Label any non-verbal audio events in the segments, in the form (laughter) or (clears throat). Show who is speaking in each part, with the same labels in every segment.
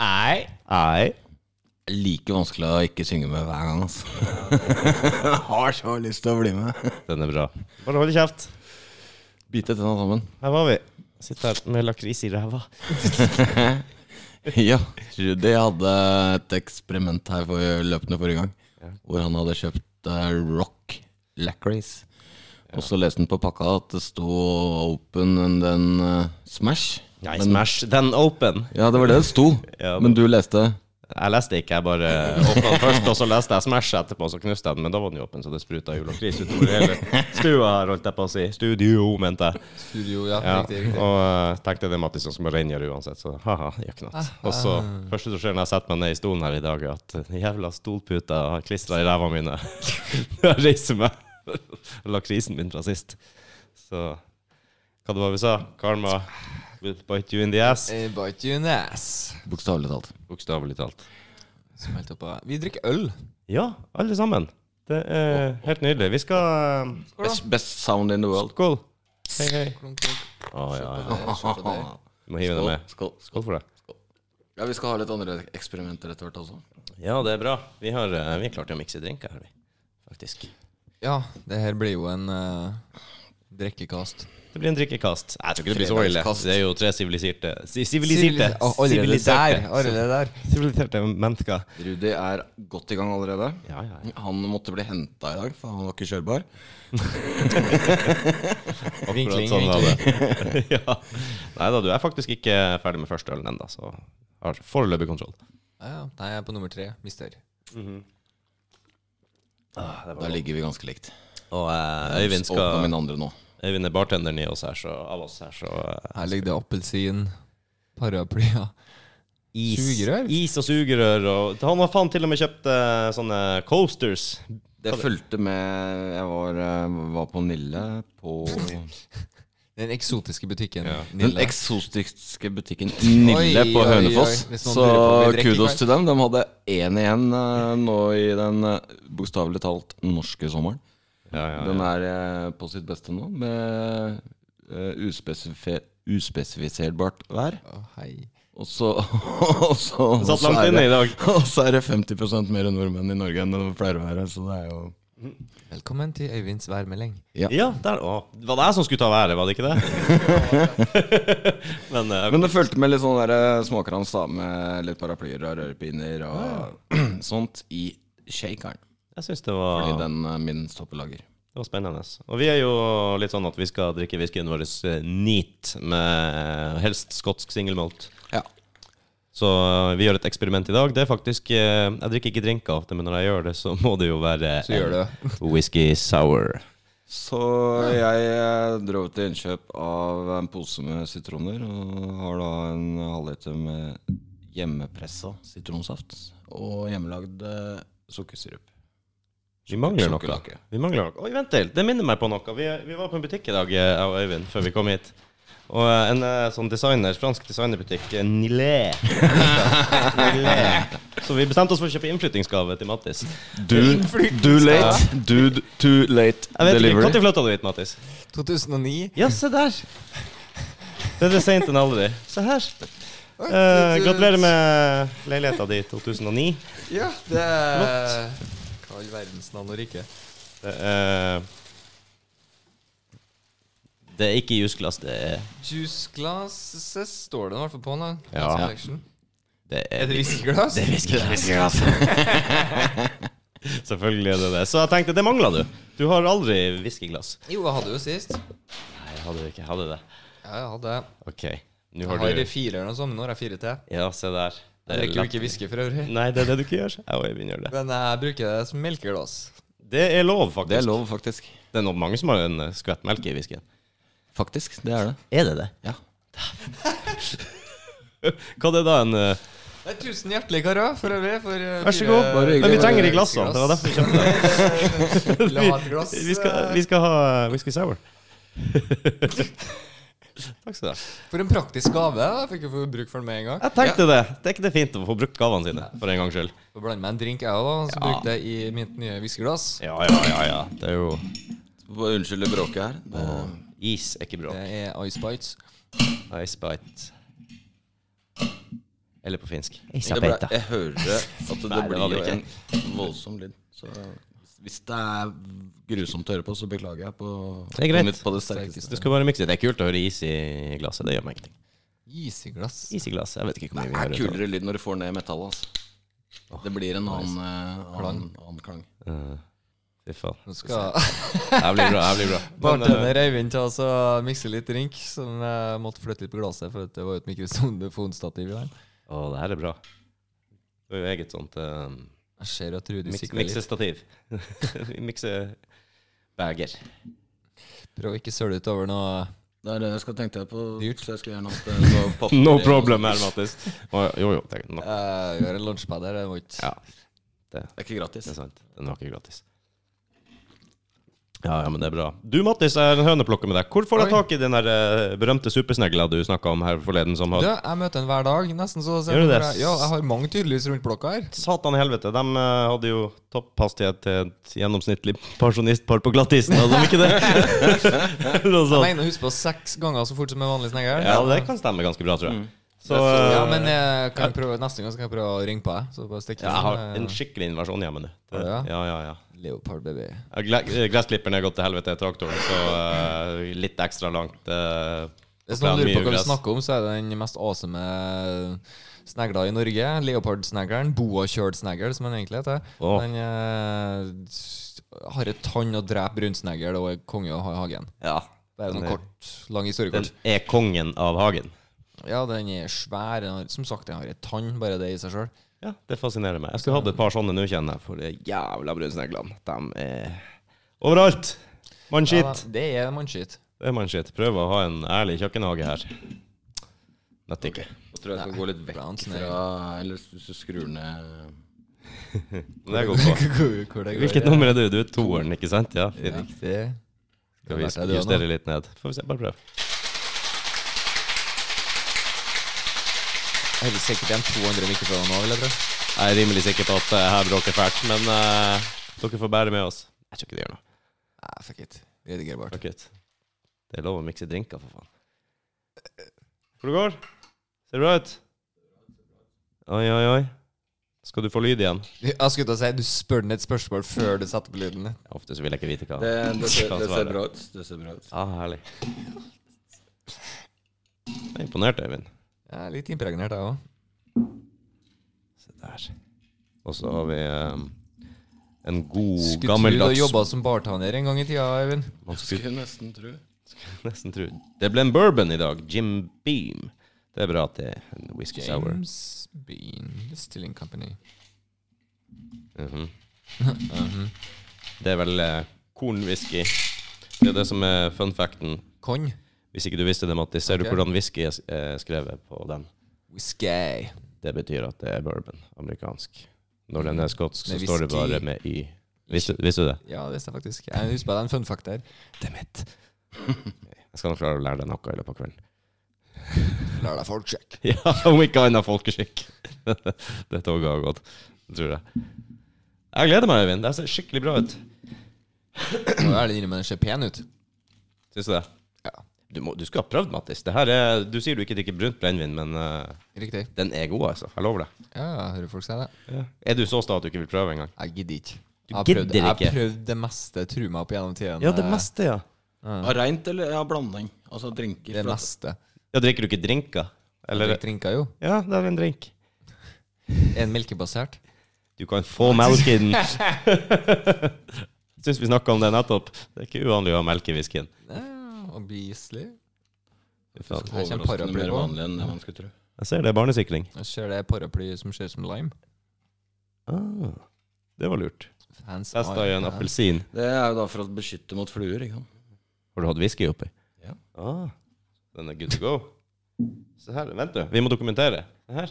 Speaker 1: Nei.
Speaker 2: Nei.
Speaker 3: Like vanskelig å ikke synge med hver gang, altså. Har så lyst til å bli med. (laughs)
Speaker 2: Den er bra. Bare hold kjeft.
Speaker 3: Bite tenna sammen.
Speaker 2: Her var vi. Sitter her med lakris i ræva.
Speaker 3: Ja, Rudi hadde et eksperiment her for løpende forrige gang. Hvor han hadde kjøpt eh, Rock Lacrace. Og så leste han på pakka at det sto 'Open and then eh, Smash'.
Speaker 2: Nei,
Speaker 3: Men-
Speaker 2: smash den open.
Speaker 3: Ja, det var det det sto.
Speaker 2: (laughs) Ja,
Speaker 3: Men du leste
Speaker 2: Jeg leste ikke, jeg bare
Speaker 3: (laughs)
Speaker 2: åpna den først, og så leste jeg Smash etterpå, så knuste jeg den, men da var den jo åpen, så det spruta jo lakris utover hele stua her, holdt jeg på å si. Studio, mente jeg.
Speaker 4: Studio, ja.
Speaker 2: Ja,
Speaker 4: Riktig, riktig.
Speaker 2: og eh, tenkte det er Mattis som er reingjør uansett, så ha-ha, gjør ikke noe. Og så, første som skjer når jeg setter meg ned i stolen her i dag, er at den jævla stolputa har klistra i ræva mine. (laughs) Jeg reiser meg. (laughs) Lakrisen min fra sist. Så hva det var vi sa? Karma will bite you in the ass.
Speaker 4: Eh, Bite you in the ass.
Speaker 3: bokstavelig talt.
Speaker 2: Bokstavelig talt.
Speaker 4: Som helt oppå. Vi drikker øl.
Speaker 2: Ja, alle sammen. Det er helt nydelig. Vi skal eh,
Speaker 3: Best, best sound in the world.
Speaker 2: Skål. Hei, hei.
Speaker 4: Klunk, klunk.
Speaker 2: Å, ja, ja.
Speaker 3: Skål.
Speaker 2: Du må hive deg med.
Speaker 3: Skål.
Speaker 2: Skål for det.
Speaker 3: Ja, vi skal ha litt andre eksperimenter etter hvert også.
Speaker 2: Ja, det er bra. Vi har, eh, vi har klart å mikse drinker her, vi. Faktisk.
Speaker 4: Ja, det her blir jo en eh, drikkekast.
Speaker 2: Det blir en drikkekast. Nei, Jeg tror ikke det blir så ille.
Speaker 3: Fredagskast.
Speaker 2: Det er jo tre siviliserte si-
Speaker 4: Sivili-
Speaker 2: Siviliserte.
Speaker 4: Å, Allerede der.
Speaker 2: Siviliserte.
Speaker 4: Allerede der.
Speaker 2: Siviliserte mennesker.
Speaker 3: Rudi er godt i gang allerede.
Speaker 2: Ja, ja, ja.
Speaker 3: Han måtte bli henta i dag, for han var ikke kjørbar.
Speaker 2: Akkurat
Speaker 4: Vinkling,
Speaker 2: sånn var det. (laughs) ja. Nei da, du er faktisk ikke ferdig med første ølen ennå, så har foreløpig kontroll.
Speaker 4: Ja, ja. Nei, jeg er på nummer tre. Mister.
Speaker 2: Ah,
Speaker 3: Da ligger vi ganske likt.
Speaker 2: Og eh, Øyvind,
Speaker 3: Åpna
Speaker 2: skal,
Speaker 3: min andre nå.
Speaker 2: Øyvind er bartenderen i oss her, så, av oss her, så eh,
Speaker 4: Her ligger det appelsin, paraplyer
Speaker 2: Is,
Speaker 4: Sugerør?
Speaker 2: is og sugerør. Og, han har faen til og med kjøpt eh, sånne coasters.
Speaker 3: Det fulgte med Jeg var, eh, var på Nille
Speaker 4: (laughs)
Speaker 3: på
Speaker 4: Den eksotiske butikken.
Speaker 3: Den eksotiske butikken Nille
Speaker 4: Oi,
Speaker 3: på
Speaker 4: oi, oi.
Speaker 3: Hønefoss.
Speaker 4: Hvis noen
Speaker 3: Så
Speaker 4: lurer på om vi drikker
Speaker 3: kudos
Speaker 4: i
Speaker 3: til dem. De hadde én igjen eh, nå i den eh, bokstavelig talt norske sommeren.
Speaker 2: Ja, ja,
Speaker 3: Den er eh, på sitt beste nå, med eh, uspesifi- uspesifiserbart vær.
Speaker 4: Å, hei.
Speaker 3: Og så (laughs) og så- og
Speaker 2: Satt
Speaker 3: så
Speaker 2: langt
Speaker 3: er
Speaker 2: inne i
Speaker 3: det-
Speaker 2: dag.
Speaker 3: (laughs) Og så er det 50 mer nordmenn i Norge enn det pleier å være. Så det er jo
Speaker 4: Velkommen til Øyvinds værmelding.
Speaker 2: Ja, der òg. Var det jeg som skulle ta været, var det ikke det? (laughs) Men, eh,
Speaker 3: Men det fulgte med litt sånn der småkrans da, med litt paraplyer og rørepinner og (clears throat) sånt i shakeren.
Speaker 2: jeg syns det,
Speaker 3: Fordi
Speaker 2: var-
Speaker 3: den er min stoppelager.
Speaker 2: det var spennende. Og vi er jo litt sånn at vi skal drikke whiskyen vår eh, neat, med helst skotsk singelmalt.
Speaker 3: Ja.
Speaker 2: Så eh, vi gjør et eksperiment i dag. Det er faktisk eh, Jeg drikker ikke drinker ofte, men når jeg gjør det, så må det jo være
Speaker 4: Så gjør det.
Speaker 2: en whisky sour.
Speaker 3: Så jeg eh, dro til innkjøp av en pose med sitroner, og har da en halvliter med hjemmepressa sitronsaft og hjemmelagd eh, sukkersirup.
Speaker 2: Vi mangler noe.
Speaker 3: Sukkerlake.
Speaker 2: Vi mangler noe. Oi, vent litt. Det minner meg på noe. Vi, vi var på en butikk i dag, eh, jeg og Øyvind, før vi kom hit. Og eh, en eh, sånn designer, fransk designerbutikk, eh, Nilé. Nilé. Så vi bestemte oss for å kjøpe innflyttingsgave til Mattis.
Speaker 3: Dude, dude late. Dude too late
Speaker 2: Jeg vet ikke,
Speaker 3: delivery.
Speaker 2: Når flytta du hit, Mattis?
Speaker 4: 2009.
Speaker 2: Ja, se der. Bedre seint enn aldri. Se her. Eh, gratulerer med leiligheta di i 2009.
Speaker 4: Ja, det er Hva i all verdens navn og rike?
Speaker 2: Det er, det er ikke jusglass, det er,
Speaker 4: Juice glasses står det i hvert fall på den. da.
Speaker 2: Ja.
Speaker 4: Selection.
Speaker 2: det
Speaker 4: Er
Speaker 2: er
Speaker 4: det whiskyglass?
Speaker 2: (laughs) Selvfølgelig er det det. Så jeg tenkte, det mangla du. Du har aldri whiskyglass.
Speaker 4: Jo, jeg hadde jo sist.
Speaker 2: Nei, jeg hadde det ikke. Jeg hadde det.
Speaker 4: Ja, jeg hadde
Speaker 2: OK. Nå
Speaker 4: Jeg
Speaker 2: har
Speaker 4: har
Speaker 2: du
Speaker 4: fire eller noe sånt, men nå har jeg fire til.
Speaker 2: Ja, se der.
Speaker 4: Jeg
Speaker 2: Det er
Speaker 4: drikker jo
Speaker 2: lett. Mm.
Speaker 4: ikke whisky for øvrig.
Speaker 2: Nei, det er det du ikke gjør. Jeg og Øyvind gjør det.
Speaker 4: Men jeg bruker det som melkeglass.
Speaker 2: Det er lov, faktisk.
Speaker 3: Det er lov, faktisk.
Speaker 2: Det er nok mange som har en eh, skvett melk i whiskyen.
Speaker 3: Faktisk, det er det.
Speaker 2: Er det det?
Speaker 3: Ja.
Speaker 2: Hva er det da en eh,
Speaker 4: Nei, tusen hjertelig, karer, for øvrig. For eh,
Speaker 2: Vær så
Speaker 4: fire-
Speaker 2: god.
Speaker 3: Bare hyggelig.
Speaker 2: Men vi
Speaker 3: det
Speaker 2: trenger
Speaker 4: var
Speaker 2: de glassene. Det var derfor vi
Speaker 4: (laughs)
Speaker 2: kjøpte dem.
Speaker 4: Vil du ha et glass?
Speaker 2: (laughs) Vi skal, vi skal ha eh, whisky sour. (laughs) Takk skal du ha.
Speaker 4: For en praktisk gave. da. Jeg fikk jo få bruk for den med en gang.
Speaker 2: Jeg tenkte det. Det er ikke det fint å få brukt gavene sine, for en gangs skyld.
Speaker 4: Så blander meg en drink, jeg òg, så
Speaker 2: Ja.
Speaker 4: brukte jeg i mitt nye whiskyglass.
Speaker 2: Ja, ja, ja. ja. Det er jo
Speaker 3: Bare Unnskyld det bråket her. Det
Speaker 2: Is er ikke bra.
Speaker 4: Det er Ice Bites.
Speaker 2: Ice bite. Eller på finsk.
Speaker 3: Jeg, ble, jeg hører at det
Speaker 2: Nei, det var
Speaker 3: blir jo
Speaker 2: det
Speaker 3: en voldsom lyd. Så hvis det er grusomt å høre på, så beklager jeg på,
Speaker 2: Det er greit.
Speaker 3: på mitt på det
Speaker 2: Du
Speaker 3: sterkeste.
Speaker 2: skal bare mikse. Det er kult å høre is i glasset. Det gjør meg ingenting.
Speaker 4: Iseglass.
Speaker 2: Is i glasset. Jeg vet ikke hvor
Speaker 3: Det
Speaker 2: mye vi
Speaker 3: er
Speaker 2: hører. til.
Speaker 3: kulere lyd når du får ned metallet. Altså. Det blir en annen, eh, annen, annen klang.
Speaker 2: Eh, Fy faen. (laughs)
Speaker 4: Nå skal
Speaker 2: Jeg blir bra. Jeg blir bra. Men, eh,
Speaker 4: bartender Eivind ta oss og mikse litt drink, som jeg måtte flytte litt på glasset, for at det var jo et mikrofonstativ i den.
Speaker 2: eh, Å, det her er bra. Det er jo eget sånt eh,
Speaker 4: Jeg ser at Rudi
Speaker 2: Miks,
Speaker 4: sikter litt.
Speaker 2: miksestativ. (laughs) Miksebager.
Speaker 4: Prøv å ikke søle utover noe
Speaker 3: Det er det jeg skal tenkte jeg på.
Speaker 4: Dyrt.
Speaker 3: Så jeg skulle gjerne hatt det var papir-
Speaker 2: No problem her, Mattis. Å, Jo, jo. Det, no.
Speaker 4: Eh, Vi har en lunsjpad her, det må ikke
Speaker 2: Ja.
Speaker 3: Det er ikke gratis.
Speaker 2: det er sant. Den var ikke gratis. Ja, ja, men det er bra. Du, Mattis, jeg har en høneplukke med deg. Hvor får jeg
Speaker 4: Oi.
Speaker 2: tak i den der eh, berømte supersnegla du snakka om her forleden, som
Speaker 4: Du,
Speaker 2: har
Speaker 4: jeg møter den hver dag, nesten så
Speaker 2: Gjør du det?
Speaker 4: Ja, jeg har mange tydeligvis rundt blokka her.
Speaker 2: Satan i helvete, de eh, hadde jo topphastighet til et gjennomsnittlig pensjonistpar på glattisen, hadde de ikke det?
Speaker 4: (laughs)
Speaker 2: Noe
Speaker 4: Jeg
Speaker 2: sånt.
Speaker 4: mener å huske på seks ganger så fort som en vanlig snegl.
Speaker 2: Ja, det kan stemme ganske bra, tror jeg. Så,
Speaker 4: Mm. Ja,
Speaker 2: eh,
Speaker 4: men jeg kan prøve, neste gang skal jeg prøve å ringe på deg. Så bare stikke
Speaker 2: Ja, jeg har
Speaker 4: eh,
Speaker 2: en skikkelig invasjon hjemme nå. Det-
Speaker 4: Har du det?
Speaker 2: Ja, ja, ja.
Speaker 4: Leopard baby.
Speaker 2: Ja, gle- Gressklipperen er gått til helvete, traktoren, så eh, litt ekstra langt. eh,
Speaker 4: Hvis
Speaker 2: Ja,
Speaker 4: noen sånn lurer
Speaker 2: mye
Speaker 4: på hva vi
Speaker 2: gress.
Speaker 4: snakker om, så er det den mest awesome eh, snegla i Norge. Leopardsnegleren. Boa-kjølt-snegl, som den egentlig heter.
Speaker 2: Åh.
Speaker 4: Den eh, har et tann og dreper rundsnegl og er konge å ha i hagen.
Speaker 2: ja.
Speaker 4: Det er
Speaker 2: Den
Speaker 4: sånn
Speaker 2: er-
Speaker 4: kort, lang historie
Speaker 2: Den
Speaker 4: kort.
Speaker 2: er kongen av hagen.
Speaker 4: Ja, den er svær. Den har, som sagt, den har et tann, bare det i seg sjøl.
Speaker 2: Ja, det fascinerer meg. Jeg skulle hatt et par sånne nå, kjenner jeg, for de jævla brunsneglene. De er overalt! Mannskitt.
Speaker 4: Ja, da, det er mannskitt.
Speaker 2: det er mannskitt. Prøv å ha en ærlig kjøkkenhage her. Nett ikke.
Speaker 3: Jeg tror jeg skal gå litt vekk
Speaker 4: Brown snake.
Speaker 3: fra Eller hvis du skrur ned
Speaker 2: Men det går på.
Speaker 4: (laughs) Hvor- hvor det går,
Speaker 2: Hvilket
Speaker 4: ja.
Speaker 2: nummer er du? Du er toeren, ikke sant? Ja, fint.
Speaker 4: Riktig.
Speaker 2: Skal vi
Speaker 4: Skal vi
Speaker 2: justere litt ned? Får vi se, bare prøv.
Speaker 4: Jeg har sikkert igjen 200 mikrofoner nå, vil jeg tro.
Speaker 2: Jeg er rimelig sikker på at jeg her bråker fælt, men eh, dere får bære med oss. Jeg tror ikke det gjør noe.
Speaker 4: Nei, fuck it. Redigerbart.
Speaker 2: Fuck it. Det er lov å mikse drinker, for faen. Hvor det går? Ser det bra ut? Oi, oi, oi. Skal du få lyd igjen?
Speaker 4: Jeg skulle til å si, du spør den et spørsmål før du setter på lyden.
Speaker 2: Ofte så vil jeg ikke vite hva
Speaker 3: Det, det, ser,
Speaker 2: Kan
Speaker 3: det
Speaker 2: svare.
Speaker 3: ser bra ut. Det ser bra ut.
Speaker 2: Ja, herlig. Jeg er imponert, Øyvind.
Speaker 4: Jeg er litt impregnert, jeg òg.
Speaker 2: Se der. Og så har vi eh, en god,
Speaker 4: Skulle tro du
Speaker 2: gammeldags
Speaker 4: jobba som bartender en gang i tida, Eivind.
Speaker 2: Man skulle
Speaker 3: Skulle nesten tro.
Speaker 2: (laughs) Nesten tro. Det ble en bourbon i dag. Jim Beam. Det er bra at det er en whisky sour.
Speaker 4: James Bean Distilling Company.
Speaker 2: Mhm. Det er vel eh, kornwhisky. Det er det som er fun facten.
Speaker 4: Con.
Speaker 2: Hvis ikke du visste det, Mattis, ser du
Speaker 4: Ok.
Speaker 2: hvordan whisky er s- er skrevet på den?
Speaker 4: Whisky.
Speaker 2: Det betyr at det er bourbon. Amerikansk. Når den er skotsk, så
Speaker 4: Med
Speaker 2: står det
Speaker 4: whisky.
Speaker 2: bare med Y. Visste, visste du det?
Speaker 4: Ja, det visste jeg faktisk. Jeg husker bare en fun fact der. Demmit.
Speaker 2: (laughs) Jeg skal nok klare å lære deg noe i løpet av kvelden. (laughs)
Speaker 4: Lær deg folkcheck.
Speaker 2: Ja, om ikke annet folkeskikk. (laughs) det toget har gått, tror jeg. Jeg gleder meg, Øyvind. Det ser skikkelig bra ut.
Speaker 4: Må jo ærlig innrømme den ser pen ut.
Speaker 2: Syns du det?
Speaker 4: Ja,
Speaker 2: Du, må, du skal ha prøvd, Mattis. Det her er, du sier du ikke drikker brunt brennevin, men eh,
Speaker 4: riktig.
Speaker 2: den er god, altså. Jeg lover deg.
Speaker 4: Ja, hører folk si det.
Speaker 2: Er du så sta at du ikke vil prøve engang?
Speaker 4: Jeg gidder ikke.
Speaker 2: Du
Speaker 4: Jeg har
Speaker 2: gidder
Speaker 4: prøvd- Jeg
Speaker 2: ikke?
Speaker 4: har prøvd det meste, tru meg, opp gjennom tidene.
Speaker 2: meste, ja.
Speaker 3: Ja, Reint eller ja, blanding? Altså drinker?
Speaker 4: Det
Speaker 3: for at-
Speaker 4: meste.
Speaker 2: Ja, Drikker du ikke drinker? Eller
Speaker 4: Jeg drinka jo.
Speaker 2: Ja, det er en drink.
Speaker 4: En melkebasert.
Speaker 2: Du kan få melk i (laughs) den. Syns vi snakka om det nettopp. Det er ikke uvanlig å ha melk i whiskyen.
Speaker 4: Ja, Obviously.
Speaker 2: Fy faen.
Speaker 4: Her kommer
Speaker 3: Overraskende
Speaker 4: paraply
Speaker 3: mer
Speaker 4: på.
Speaker 3: vanlig enn det man skulle tro.
Speaker 2: Jeg ser det er barnesikring.
Speaker 4: Jeg ser det paraplyet som ser ut som lime.
Speaker 2: Ah, det var lurt.
Speaker 4: Hands
Speaker 2: Testa
Speaker 4: are
Speaker 2: i en
Speaker 4: hands.
Speaker 2: appelsin.
Speaker 3: Det er jo da for å beskytte mot fluer, ikke sant.
Speaker 2: Har du hatt whisky oppi?
Speaker 3: Ja.
Speaker 2: Ah, den er good to go. Se her, vent du. Vi må dokumentere. Se her.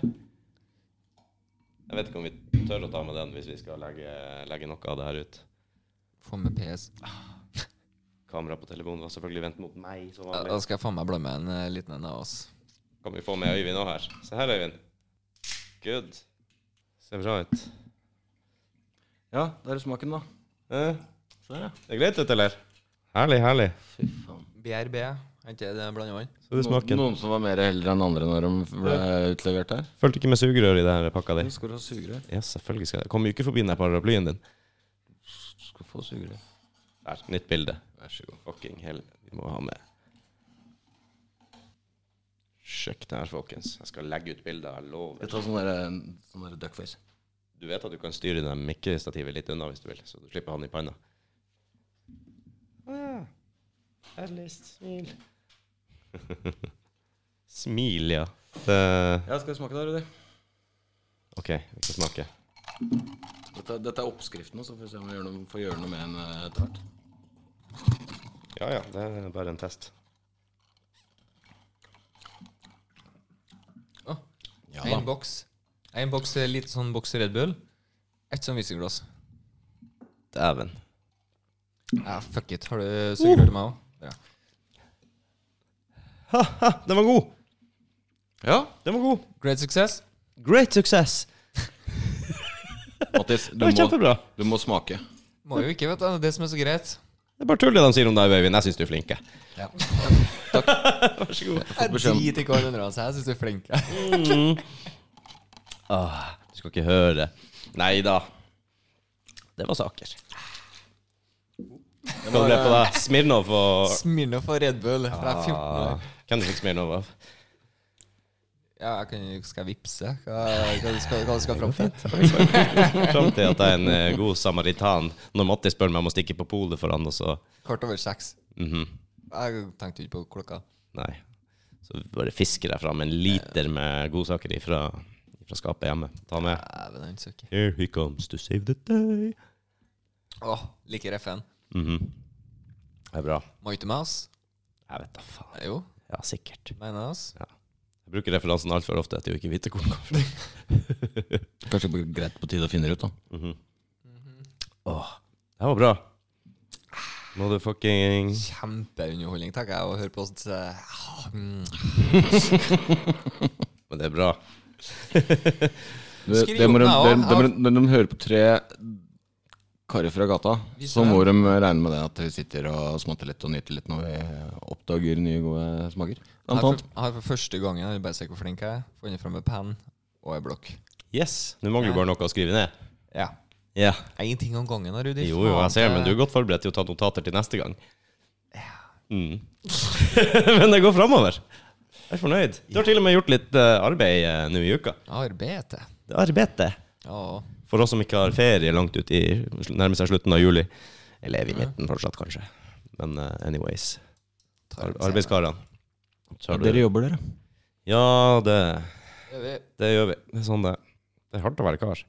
Speaker 2: Jeg vet ikke om vi tør å ta med den hvis vi skal legge, legge noe av det her ut.
Speaker 4: Få eh, med PS.
Speaker 2: Kamera på telefonen var selvfølgelig vendt mot meg. som
Speaker 4: Ja, Da
Speaker 3: altså.
Speaker 2: vanlig.
Speaker 4: skal jeg faen meg blande med en eh, liten en av oss.
Speaker 2: Kan vi få med Øyvind òg her? Se her, Øyvind. Good. Ser bra ut.
Speaker 3: Ja, der er smaken, da.
Speaker 2: Eh,
Speaker 3: Se her, ja.
Speaker 2: det er greit ut, eller? Herlig, herlig.
Speaker 3: Fy faen.
Speaker 4: BRB. Er ikke det blandevann?
Speaker 2: Så du smaker den.
Speaker 3: Noen som var mer eldre enn andre når de ble utlevert her?
Speaker 2: Fulgte ikke med sugerør i den pakka di.
Speaker 3: skal du ha sugerør.
Speaker 2: Ja, selvfølgelig skal jeg Kommer jo ikke forbi den der paraplyen din.
Speaker 3: Du skal få sugerør.
Speaker 2: Der, nytt bilde.
Speaker 3: Vær så god.
Speaker 2: Fucking hell, vi må ha med Sjekk det her, folkens. Jeg skal legge ut bilder, jeg
Speaker 3: Jeg
Speaker 2: lover.
Speaker 3: tar sånn derre sånn der duckface.
Speaker 2: Du vet at du kan styre det mikkestativet litt unna hvis du vil, så du slipper han i panna. Herligst Ah, smil. (laughs) smil, ja. Det
Speaker 3: Ja, skal vi smake det, Rudi?
Speaker 2: OK, vi skal smake.
Speaker 3: Dette, dette er oppskriften, så får vi se om vi gjør noe, får gjøre noe med den eh, etter hvert.
Speaker 2: Ja ja, det er bare en test.
Speaker 4: Oh,
Speaker 3: Ja
Speaker 4: en boks. En boks eh, litt sånn boks Red Bull. Ett sånn whiskyglass.
Speaker 2: Dæven.
Speaker 4: Ja, fuck it. Har du sugerør til meg òg? Ja.
Speaker 2: Ha, den var god!
Speaker 3: Ja,
Speaker 2: Den var god.
Speaker 4: Great success.
Speaker 2: Great success!
Speaker 3: Mattis, du
Speaker 2: Det var
Speaker 3: må,
Speaker 2: kjempebra.
Speaker 3: du må smake.
Speaker 4: Må jo ikke, vet du. Det er det som er så greit.
Speaker 2: Det er bare tull det de sier om deg, babyen. Jeg syns du er flink. jeg.
Speaker 3: Ja.
Speaker 2: (laughs) Vær så god.
Speaker 4: Jeg
Speaker 3: beskjed om-
Speaker 4: driter ikke i andre seg. Jeg syns du er flink.
Speaker 2: Ah, du skal ikke høre. Nei da. Det var saker. Hva ble det eh, på deg? Smirnov og
Speaker 4: Smirnoff og Red Bull fra 14 år.
Speaker 2: ah, Hvem du fikk Smirnov av?
Speaker 4: Ja, jeg kan, skal jeg vippse? Hva, hva du skal hva du skal fram til?
Speaker 2: Fram til at jeg er en eh, god samaritan når Matti spør meg om å stikke på polet for han, og så
Speaker 4: Kort over seks.
Speaker 2: mhm.
Speaker 4: Jeg tenkte ikke på klokka.
Speaker 2: Nei. Så bare fisker jeg fram en liter med godsaker ifra, ifra skapet hjemme. Ta med.
Speaker 4: Dæven, han søker.
Speaker 2: Here he comes to save the day.
Speaker 4: Åh, liker FN.
Speaker 2: Mhm. Det er bra.
Speaker 4: Mighty Mouse?
Speaker 2: Jeg vet da faen.
Speaker 4: Jo,
Speaker 2: Ja, sikkert.
Speaker 4: mener jeg. altså.
Speaker 2: Jeg bruker referansen altfor ofte til å ikke vite hvor den kommer fra.
Speaker 3: Kanskje det blir greit på tide å finne det ut, da.
Speaker 2: Åh, det her var bra. Må du fucking
Speaker 4: Kjempeunderholdning, tenker jeg, å høre på oss. eh, ah, mm.
Speaker 2: Men det er bra.
Speaker 3: Det,
Speaker 4: Skriv
Speaker 3: det
Speaker 4: opp
Speaker 3: må
Speaker 4: meg
Speaker 3: de, det,
Speaker 4: også.
Speaker 3: det må de, når de hører på tre karer fra gata,
Speaker 4: Vis
Speaker 3: så
Speaker 4: meg.
Speaker 3: må de regne med det at vi sitter og smatter litt og nyter litt når vi oppdager nye, gode smaker.
Speaker 4: Jeg
Speaker 3: Blant
Speaker 4: har
Speaker 3: annet.
Speaker 4: for- jeg har for første gangen jeg vil bare se hvor flink jeg er, funnet fram en penn og en blokk.
Speaker 2: Yes. Nå mangler du bare noe å skrive ned.
Speaker 4: Ja.
Speaker 2: Ja.
Speaker 4: Én ting om gangen, da, Rudi.
Speaker 2: Jo, jo, jeg ser, men du er
Speaker 4: Faen,
Speaker 2: godt forberedt til å ta notater til neste gang. Mm. (laughs) men det går framover. Jeg er fornøyd. Du har til og med gjort litt eh, arbeid eh, nå i uka.
Speaker 4: det- Arbeid. det.
Speaker 2: Det er Arbeidet.
Speaker 4: Ja.
Speaker 2: For oss som ikke har ferie langt ut i nærmer seg slutten av juli. Eller i midten fortsatt, kanskje. Men eh, anyways.
Speaker 4: tar
Speaker 2: Ar
Speaker 4: det senere.
Speaker 2: Arbeidskarene. Så har du-
Speaker 3: Dere jobber, dere.
Speaker 2: Ja, det,
Speaker 4: Det er vi.
Speaker 2: det gjør vi. Det er sånn det er. Det er hardt å være kar.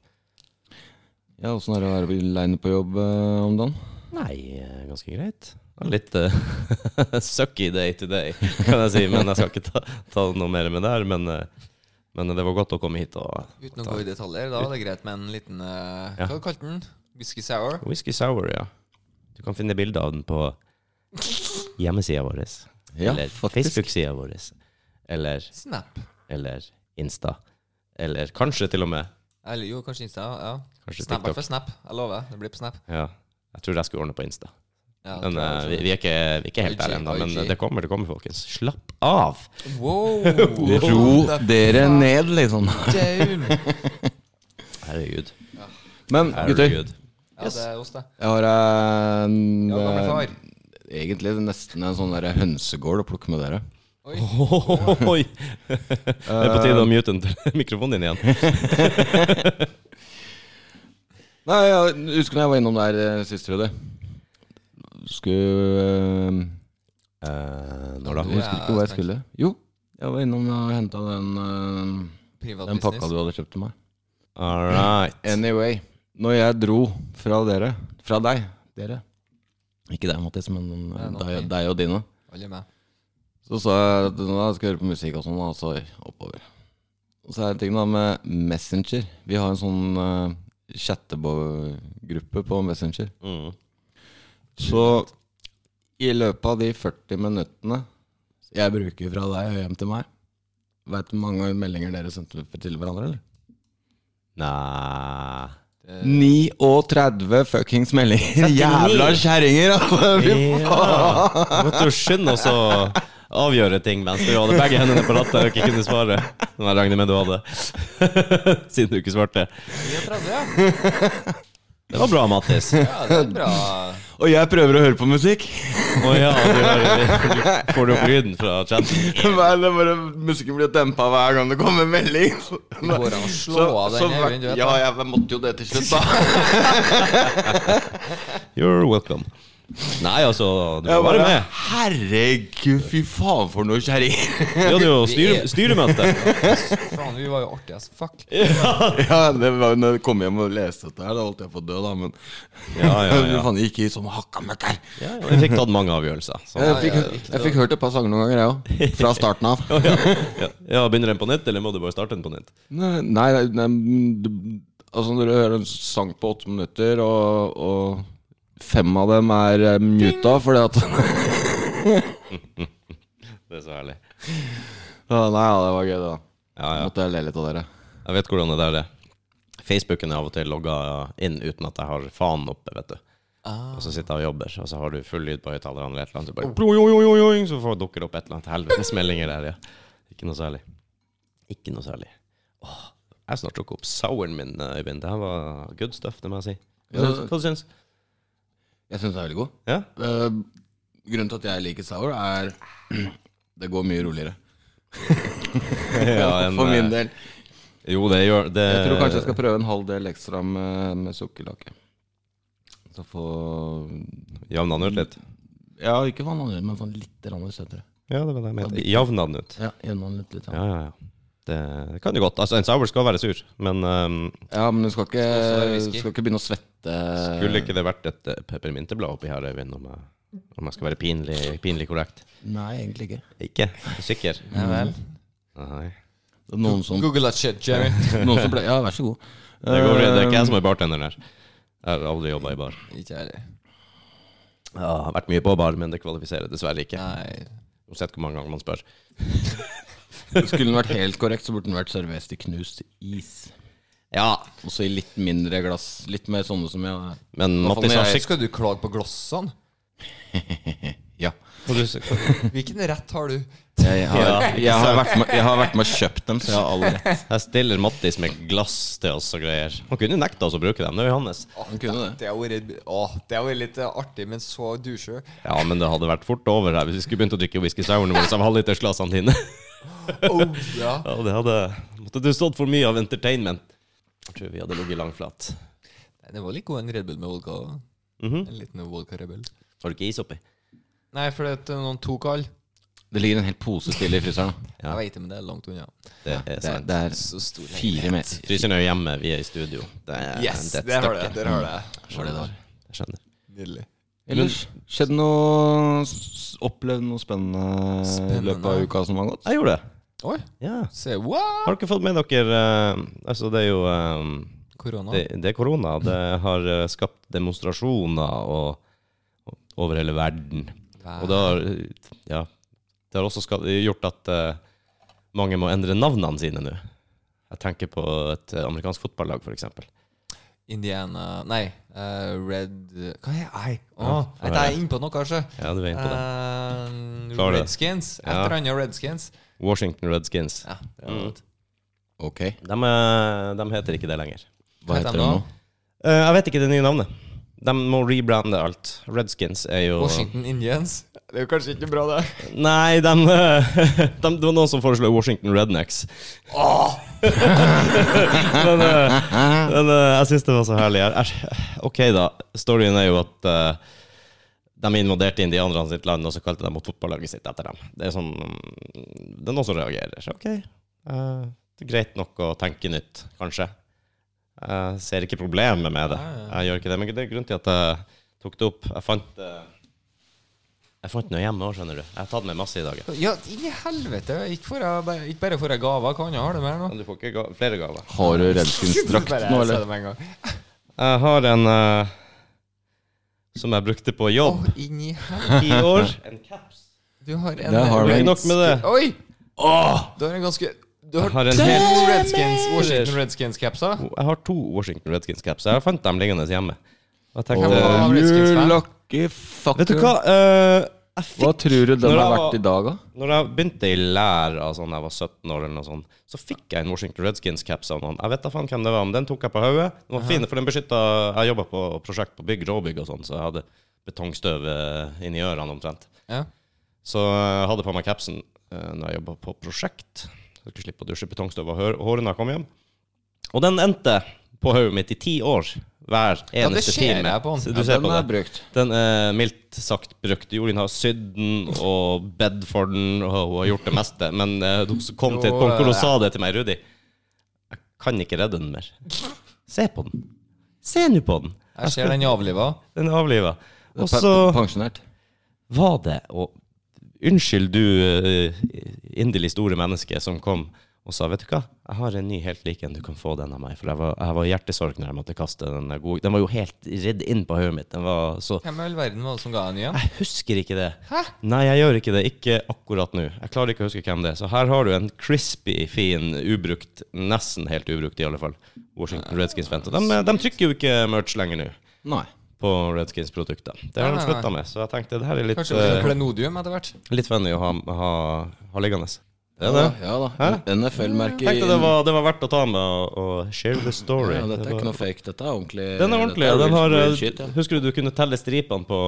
Speaker 3: Ja, Åssen er det å være aleine på jobb eh, om dagen?
Speaker 2: Nei, eh, ganske greit. Det er Litt eh, (laughs) sucky day to day, kan jeg si. Men jeg skal ikke ta, ta noe mer med det her. Men, eh, men det var godt å komme hit og
Speaker 4: Uten å gå i detaljer, da er det greit med en liten eh,
Speaker 2: Ja.
Speaker 4: Hva kalte du den? Whisky sour?
Speaker 2: Whisky sour, ja. Du kan finne bilde av den på (laughs) hjemmesida vår.
Speaker 3: Ja,
Speaker 2: eller
Speaker 3: faktisk.
Speaker 2: Facebook-sida vår. Eller,
Speaker 4: Snap.
Speaker 2: eller Insta. Eller kanskje til og med
Speaker 4: Eller jo, kanskje Insta. Ja.
Speaker 2: Kanskje
Speaker 4: Snap, i hvert
Speaker 2: TikTok.
Speaker 4: fall Snap. Jeg lover. Det blir på Snap.
Speaker 2: Ja, jeg tror jeg skulle ordne på Insta.
Speaker 4: Ja,
Speaker 2: Men
Speaker 4: tror jeg
Speaker 2: eh,
Speaker 4: også.
Speaker 2: vi, vi, er ikke, vi er ikke helt
Speaker 4: IG,
Speaker 2: der ennå. Men
Speaker 4: IG.
Speaker 2: det kommer, det kommer, folkens. Slapp av!
Speaker 4: Wow!
Speaker 3: Ro
Speaker 4: the
Speaker 3: dere
Speaker 4: fuck
Speaker 3: ned, liksom.
Speaker 4: down.
Speaker 2: Herregud.
Speaker 3: Men gutter,
Speaker 2: Herregud.
Speaker 4: Ja, det er oss, det.
Speaker 3: jeg har eh, en,
Speaker 4: Ja, gamle
Speaker 3: eh,
Speaker 4: far.
Speaker 3: egentlig nesten en sånn der hønsegård å plukke med dere.
Speaker 4: Oi.
Speaker 2: Oi! Det er på tide å mute den til (laughs) mikrofonen din igjen.
Speaker 3: Nei, jeg husker da jeg var innom der eh, sist, Rudi. Skulle eh,
Speaker 2: når da?
Speaker 4: Eh, Du
Speaker 3: Jeg husker
Speaker 4: er
Speaker 3: ikke hvor jeg
Speaker 4: spent.
Speaker 3: skulle. Jo, jeg var innom og henta den, øh,
Speaker 4: Privat
Speaker 3: den pakka
Speaker 4: business.
Speaker 3: du hadde kjøpt til meg.
Speaker 2: All right.
Speaker 3: Anyway, når jeg dro fra dere Fra deg. Dere. Ikke deg, Mattis, men
Speaker 4: Ja, nå.
Speaker 3: deg, deg og dine.
Speaker 4: Alle med.
Speaker 3: Så sa jeg at nå skal jeg høre på musikk og sånn, og så oppover. Og så er det en ting da med Messenger. Vi har en sånn øh, chattebo-gruppe på Messenger.
Speaker 2: Mm.
Speaker 3: Så i løpet av de 40 minuttene jeg bruker fra deg og hjem til meg Veit du hvor mange meldinger dere sendte til hverandre, eller?
Speaker 2: Nei
Speaker 4: Eh,
Speaker 3: 39 fuckings
Speaker 4: Eh.
Speaker 3: meldinger! Jævla kjerringer! altså. Fy faen.
Speaker 2: ja. Måtte jo skynde oss å avgjøre ting mens du hadde begge hendene på rattet og ikke kunne svare. Som jeg regner med du hadde. (laughs) Siden du ikke svarte.
Speaker 4: 39, ja.
Speaker 2: Det var bra, Mattis. Å
Speaker 4: ja. Det er bra.
Speaker 3: Og jeg prøver å høre på musikk! (laughs)
Speaker 2: ja, du, har- du får opp lyden fra chatten.
Speaker 3: Hva er det bare Musikken blir dempa hver gang det kommer en melding.
Speaker 4: (laughs) Det går an å slå av den Øyvind, du vet
Speaker 3: Ja,
Speaker 4: det.
Speaker 3: jeg måtte jo det til slutt,
Speaker 4: (laughs)
Speaker 3: da.
Speaker 2: You're welcome. Nei, altså, du må være med.
Speaker 3: Herregud, fy faen for noe kjerring. (laughs)
Speaker 2: Vi hadde jo styre, styremøte.
Speaker 4: Faen, vi var jo artige as fuck.
Speaker 3: Ja, det var når jeg kom hjem og leste dette her, da holdt jeg på å dø, da, men
Speaker 2: Ja, ja, (laughs)
Speaker 3: Men
Speaker 2: ja.
Speaker 3: faen, jeg gikk i som hakka møkk her.
Speaker 2: ja, ja. Vi fikk tatt mange avgjørelser. Så.
Speaker 3: Jeg fikk, jeg fikk hørt et par sanger noen ganger, (laughs) jeg òg. Fra starten av.
Speaker 2: Ja. ja, Begynner den på nytt, eller må du bare starte den på nytt?
Speaker 3: Nei, nei, nei du- altså når du hører en sang på åtte minutter, og, og fem av dem er eh, muta fordi at (laughs)
Speaker 2: Det er så herlig.
Speaker 3: Ja, Nei, ja, det var gøy, det. da.
Speaker 2: Ja, ja.
Speaker 3: Måtte jeg le litt av dere.
Speaker 2: Jeg vet hvordan det der er. Facebooken er av og til logga inn uten at jeg har fanen oppe, vet du. Og så sitter jeg og jobber, og så har du full lyd på høyttaleren eller et eller annet, så bare plong, oi, oi, oi, oi, så får dukker det opp et eller annet helvetes meldinger der, ja. Ikke noe særlig. Ikke noe særlig. Åh, jeg har snart drukket opp souren min, eh, Øyvind. Det her var good stuff, det må jeg si. Hva syns- Hva syns du?
Speaker 3: Jeg syns den er veldig god.
Speaker 2: Ja?
Speaker 3: Eh, grunnen til at jeg liker sour, er (clears throat) det går mye roligere.
Speaker 2: (laughs) Ja, en,
Speaker 3: (laughs) For min
Speaker 2: eh,
Speaker 3: del.
Speaker 2: Jo, det gjør det.
Speaker 3: Jeg tror kanskje jeg skal prøve en halv del ekstra med, med sukkerlake. Så få
Speaker 2: Javna den ut litt.
Speaker 3: Ja, ikke vann andre, men sånn litt grann søtere.
Speaker 2: Ja, det var det jeg mente. Javna den ut.
Speaker 3: Ja, jevne den litt, litt ja.
Speaker 2: Ja, ja, ja. Det, det kan jo godt. Altså, en sour skal være sur, men ehm,
Speaker 3: ja, men du skal ikke,
Speaker 4: Skal også være whisky.
Speaker 3: skal ikke begynne å svette.
Speaker 2: Skulle ikke det vært et eh, peppermynteblad oppi her, Øyvind, om jeg, om jeg skal være pinlig, pinlig korrekt?
Speaker 3: Nei, egentlig ikke.
Speaker 2: Ikke? Er du Sikker?
Speaker 4: Ja vel.
Speaker 2: Nei.
Speaker 3: Det er noen som,
Speaker 4: Google that shit, Jerry.
Speaker 3: noen som ble, Ja, vær så god. Eh,
Speaker 2: Det, går, bra. det er ikke jeg som er bartenderen her. Jeg har aldri jobba i bar.
Speaker 4: Ikke jeg heller.
Speaker 2: Jeg har vært mye på bar, men det kvalifiserer dessverre ikke.
Speaker 4: Nei.
Speaker 2: Uansett hvor mange ganger man spør.
Speaker 3: Skulle den vært helt korrekt, så burde den vært servert i knust is.
Speaker 2: Ja,
Speaker 3: Og så i litt mindre glass. Litt mer sånne som jeg
Speaker 2: men
Speaker 3: Hva faen
Speaker 2: Mattis
Speaker 3: er
Speaker 2: har
Speaker 3: jeg?
Speaker 2: sikkert
Speaker 4: Skal du klage på glassene?
Speaker 3: Ja.
Speaker 2: Hva du sier?
Speaker 4: Hvilken rett har du?
Speaker 3: Jeg, jeg, har,
Speaker 2: Ja.
Speaker 3: jeg, har vært med, jeg har vært med og kjøpt dem, så jeg har all rett.
Speaker 2: Jeg stiller Mattis med glass til oss og greier. Han kunne nekta oss å bruke dem. Det er jo hans.
Speaker 4: Åh,
Speaker 3: Han kunne det.
Speaker 4: Det har vært åh, det har vært litt eh, artig, men så douche.
Speaker 2: Ja, men det hadde vært fort over her hvis vi skulle begynt å drikke whisky sourene våre av halvlitersglassene dine.
Speaker 4: Oh, ja.
Speaker 2: Ja, det hadde Måtte du stått for mye av entertainment. Jeg tror vi hadde ligget langflat.
Speaker 4: Nei, Det var litt god en Red Bull med vodka. også.
Speaker 2: Mhm.
Speaker 4: En liten vodka Red Bull.
Speaker 2: Har du ikke is oppi?
Speaker 4: Nei, for det er noen tok all.
Speaker 3: Det ligger en hel pose stille i fryseren. da.
Speaker 2: Ja.
Speaker 4: Jeg vet det, men det er langt unna.
Speaker 2: Det er
Speaker 3: Det,
Speaker 2: Eh, sant.
Speaker 3: det er
Speaker 4: Så stor
Speaker 3: fire meter.
Speaker 2: Fryseren er jo hjemme, vi er i studio. Det er
Speaker 4: Yes,
Speaker 2: det er et
Speaker 4: der har du
Speaker 2: stykke.
Speaker 4: det.
Speaker 2: Mm.
Speaker 4: Der har du det.
Speaker 3: Var det der.
Speaker 2: Jeg skjønner.
Speaker 4: Nydelig.
Speaker 3: Ellers skjedde noe s- Opplevd noe spennende i løpet av
Speaker 4: Spennende.
Speaker 3: uka som har gått?
Speaker 2: Jeg gjorde det.
Speaker 4: Oi,
Speaker 2: Ja.
Speaker 4: se what?
Speaker 2: Har dere fått med dere eh, Altså, det er jo eh,
Speaker 4: Korona.
Speaker 2: det, det er korona. Det har eh, skapt demonstrasjoner og, og over hele verden. Og det har, eh, ja, det har også ska- gjort at eh, mange må endre navnene sine nå. Jeg tenker på et eh, amerikansk fotballag, for eksempel.
Speaker 4: Indiana Nei, eh, Red Hva er jeg?
Speaker 2: Ja,
Speaker 4: Åh, jeg vet, jeg er innpå noe, kanskje.
Speaker 2: Ja, du er inne på
Speaker 4: Eh,
Speaker 2: det. Klarer det.
Speaker 4: Redskins. Et
Speaker 2: Ja.
Speaker 4: eller annet Redskins.
Speaker 2: Eh, Washington Redskins.
Speaker 4: Ja, det er
Speaker 2: Mm.
Speaker 4: godt.
Speaker 3: Ok,
Speaker 2: De, eh, de heter ikke det lenger.
Speaker 3: hva
Speaker 4: heter
Speaker 3: heter
Speaker 4: den
Speaker 3: det nå?
Speaker 4: da?
Speaker 2: Eh, jeg vet ikke det nye navnet. De må rebrande alt. Redskins er jo
Speaker 4: Washington Indians. Det er jo kanskje ikke bra, det.
Speaker 2: Nei, de, eh, (laughs) de, det var noen som foreslo Washington Rednecks. men eh, men eh, jeg syns det var så herlig. Jeg- jeg- Ok, da. Storyen er jo at eh, de invaderte indianerne sitt land, og så kalte de mot fotballaget sitt etter dem. Det er sånn mm, Det er noen som reagerer. Så ok, eh, det er greit nok å tenke nytt, kanskje. Jeg ser ikke problemet med det. Jeg gjør ikke det, men det er grunnen til at jeg tok det opp. Jeg fant eh, jeg fant noe hjemme òg, skjønner du. Jeg har tatt med masse i dag. jeg.
Speaker 4: Ja, i helvete. Ikke, får jeg, bare- ikke bare får jeg gaver. Hva annet har du med nå?
Speaker 2: Men du får ikke ga flere gaver.
Speaker 3: Har du Redskins-drakt
Speaker 4: Bare
Speaker 3: nå,
Speaker 4: jeg sa
Speaker 3: eller?
Speaker 4: det med en gang.
Speaker 2: Jeg har en eh, som jeg brukte på
Speaker 4: Å,
Speaker 2: jobb
Speaker 4: inn i helvete.
Speaker 2: i år. En caps.
Speaker 4: Du har en
Speaker 3: Der har du
Speaker 2: Ikke
Speaker 3: en.
Speaker 2: nok med det.
Speaker 4: Oi! Du har en ganske Du har,
Speaker 2: Jeg har en
Speaker 4: to
Speaker 2: helt-
Speaker 4: Redskins Washington Redskins-capser.
Speaker 2: Jeg har to Washington Redskins-caps. Jeg fant dem liggende hjemme.
Speaker 4: Hvem var
Speaker 2: Og jeg tenkte
Speaker 4: Redskins-fan?
Speaker 3: You lucky Eh, fucker.
Speaker 2: Vet du hva? Eh, jeg fikk
Speaker 3: Hva tror du den
Speaker 2: Når
Speaker 3: har
Speaker 2: jeg
Speaker 3: vært
Speaker 2: var-
Speaker 3: i dag, da?
Speaker 2: Når jeg begynte i lær av sånn jeg var 17 år, eller noe sånt, så fikk jeg en Washington Redskins-caps av noen. Jeg vet da faen hvem det var, men den tok jeg på hodet. Den var fin, for den beskytta Jeg jobba på prosjekt på bygg, råbygg og sånn, så jeg hadde betongstøv eh, inni ørene omtrent.
Speaker 4: Ja.
Speaker 2: Så jeg hadde på meg capsen eh, når jeg jobba på prosjekt. Så jeg skulle slippe å dusje betongstøv og hår- håret når jeg kom hjem. Og den endte på hodet mitt i ti år hver
Speaker 4: Ja, det
Speaker 2: eneste
Speaker 4: ser
Speaker 2: time.
Speaker 4: jeg på den.
Speaker 2: Så
Speaker 3: Ja,
Speaker 2: du ser
Speaker 3: den
Speaker 2: på
Speaker 3: er
Speaker 2: det.
Speaker 3: brukt.
Speaker 2: Den er mildt sagt brukt. Jorunn har sydd den og bedt for den, og hun har gjort det meste. Men eh, hun kom til et punkt hvor hun sa det til meg, Rudi. Jeg kan ikke redde den mer. Se på den. Se nå på den.
Speaker 4: Jeg ser den avliva.
Speaker 2: Den er avliva. Og
Speaker 3: Pe-
Speaker 2: så
Speaker 3: Pensjonert.
Speaker 2: var det å Unnskyld, du eh, inderlig store menneske som kom og sa Vet du hva, jeg har en ny helt lik en. Du kan få den av meg. For jeg var, jeg var i hjertesorg når jeg måtte kaste den. der gode- Den var jo helt ridd inn på hodet mitt. Den var så
Speaker 4: Hvem i all verden var det som ga den igjen?
Speaker 2: jeg husker ikke det. Nei, jeg gjør ikke det. Ikke akkurat nå. Jeg klarer ikke å huske hvem det er. Så her har du en crispy, fin, ubrukt, nesten helt ubrukt i alle fall, Washington Redskins-vent. Og de, de trykker jo ikke merch lenger nå
Speaker 3: Nei.
Speaker 2: på Redskins-produkter. Det har
Speaker 4: Nei, nei,
Speaker 2: de slutta med, så jeg tenkte det her er litt,
Speaker 4: Kanskje det var
Speaker 2: eh,
Speaker 4: klenodium etter hvert?
Speaker 2: litt funny å ha, ha, ha liggende. Det er det.
Speaker 3: Ja, ja da. NFL-merket
Speaker 2: Tenkte det var, det var verdt å ta med og, og share the story.
Speaker 3: ja, Dette
Speaker 2: Det
Speaker 3: er
Speaker 2: var-
Speaker 3: ikke noe fake. Dette er ordentlig.
Speaker 2: Den er ordentlig.
Speaker 3: dette
Speaker 2: og Den har, eh,
Speaker 3: real- real shit, ja.
Speaker 2: Husker du du kunne telle stripene på,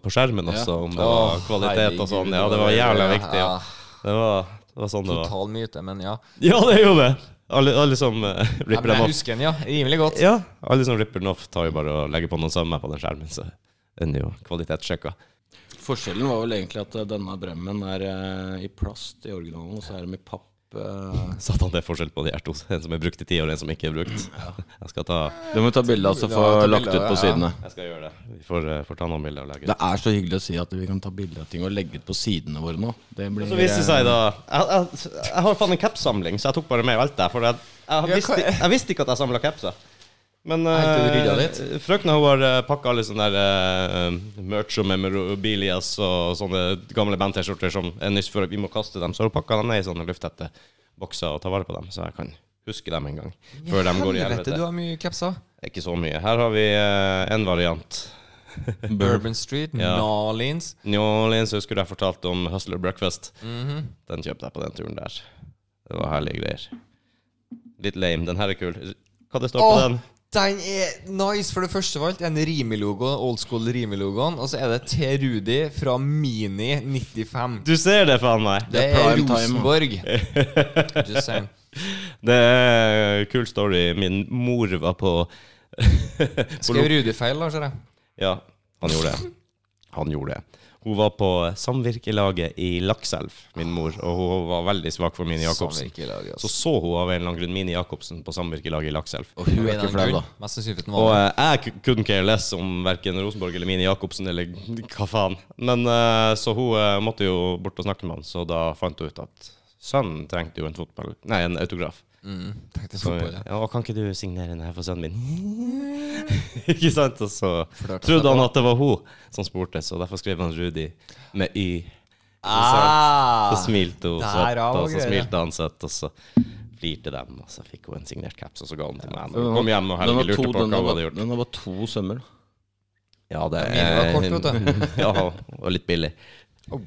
Speaker 2: på skjermen også, om det
Speaker 4: Åh,
Speaker 2: var kvalitet og sånn? Ja, det var jævla
Speaker 4: herregud,
Speaker 2: viktig. Ja.
Speaker 4: ja.
Speaker 2: Det, var, det var sånn det var.
Speaker 4: Total myte, men ja.
Speaker 2: Ja, det er jo det! Alle, alle som eh,
Speaker 4: Jeg,
Speaker 2: ripper dem
Speaker 4: jeg
Speaker 2: off.
Speaker 4: husker den, ja. Rimelig godt.
Speaker 2: Ja, alle som ripper den off, tar jo bare og legger på noen sømmer på den skjermen, så den er jo kvalitetssjekka.
Speaker 3: Forskjellen var vel egentlig at eh, denne bremmen er eh, i plast i originalen, og så er de i papp. eh.
Speaker 2: Satan, det er forskjell på de her to. En som er brukt i ti år, og en som ikke er brukt. Jeg skal ta
Speaker 3: Du må ta bilde av så få
Speaker 4: Ja, ta
Speaker 3: lagt
Speaker 4: bilde,
Speaker 3: ut på
Speaker 4: ja.
Speaker 3: sidene.
Speaker 2: Jeg skal gjøre det. Vi får, eh, får ta noen bilder og legge ut.
Speaker 3: Det er så hyggelig å si at vi kan ta bilde av ting og legge ut på sidene våre nå. Det blir
Speaker 4: Altså,
Speaker 2: Så viste det seg da Jeg, jeg, jeg har faen en capsamling, så jeg tok bare med alt der. For jeg, jeg, visste, jeg visste ikke at jeg samla capser. Men
Speaker 4: Helt til du
Speaker 2: eh,
Speaker 4: rydda litt.
Speaker 2: frøkna hun har eh, pakka alle sånne der, eh, merch og memorabilias og sånne gamle band-T-skjorter som er nyss før vi må kaste dem. Så har hun pakka dem ned i sånne lufttette bokser og tar vare på dem, så jeg kan huske dem en gang. Før de går i
Speaker 4: Helvete,
Speaker 2: helvete.
Speaker 4: du har mye
Speaker 2: (laughs)
Speaker 4: capser.
Speaker 2: Ikke så mye. Her har vi eh, en variant.
Speaker 4: Bourbon Street, Nalins.
Speaker 2: New Orleans husker du jeg fortalte om Hustler Breakfast.
Speaker 4: Mhm.
Speaker 2: Den kjøpte jeg på den turen der. Det var herlige greier. Litt lame. Den her er kul. Hva det står på
Speaker 4: Åh,
Speaker 2: den?
Speaker 4: Den er nice! For det første var alt en Rimi-logo, old school Rimi-logoen. Og så er det T. Rudi fra Mini 95.
Speaker 2: Du ser det, faen meg!
Speaker 4: Det
Speaker 3: er
Speaker 4: er
Speaker 3: prime time.
Speaker 4: Rosenborg. Just saying.
Speaker 2: Det er kul story. Min mor var på, på
Speaker 4: Skrev Rudi feil, da, ser jeg.
Speaker 2: Ja, han gjorde det. Han gjorde det. Hun var på samvirkelaget i Lakselv, min mor, og hun var veldig svak for Mini Jacobsen.
Speaker 4: Samvirkelag,
Speaker 2: Så
Speaker 4: altså.
Speaker 2: så hun av en eller annen grunn Mini Jacobsen på samvirkelaget i Lakselv.
Speaker 3: Og hun er ikke flau, da.
Speaker 4: Mest sannsynlig for den
Speaker 2: Og
Speaker 4: var
Speaker 2: eh, jeg ku- couldn't care less om verken Rosenborg eller Mini Jacobsen eller (laughs) hva faen. Men eh, så hun eh, måtte jo bort og snakke med han, så da fant hun ut at sønnen trengte jo en fotball Nei, en autograf.
Speaker 4: mm, Tenkte
Speaker 2: Så,
Speaker 4: fotball, ja.
Speaker 2: ja, og kan ikke du signere den her for sønnen min? (laughs) ikke sant? Og så
Speaker 4: Flørte seg
Speaker 2: trodde han
Speaker 4: på.
Speaker 2: at det var hun som spurte, så derfor skrev han Rudi med Y.
Speaker 4: Ah,
Speaker 2: Så smilte hun
Speaker 4: der
Speaker 2: søtt,
Speaker 4: var
Speaker 2: og så
Speaker 4: greia.
Speaker 2: smilte han søtt, og så flirte dem, og så fikk hun en signert caps, og så ga hun til meg.
Speaker 3: Den
Speaker 2: Hun
Speaker 3: har-
Speaker 2: kom hjem, og
Speaker 3: den
Speaker 2: Helge
Speaker 3: har to-
Speaker 2: lurte på
Speaker 3: den
Speaker 2: hva
Speaker 3: har
Speaker 2: hun hadde
Speaker 3: bare-
Speaker 2: gjort.
Speaker 3: Den har bare to sømmer. da.
Speaker 2: Ja, det
Speaker 4: Mine var kort, vet
Speaker 2: (laughs) ja, og litt billig.
Speaker 4: Oh.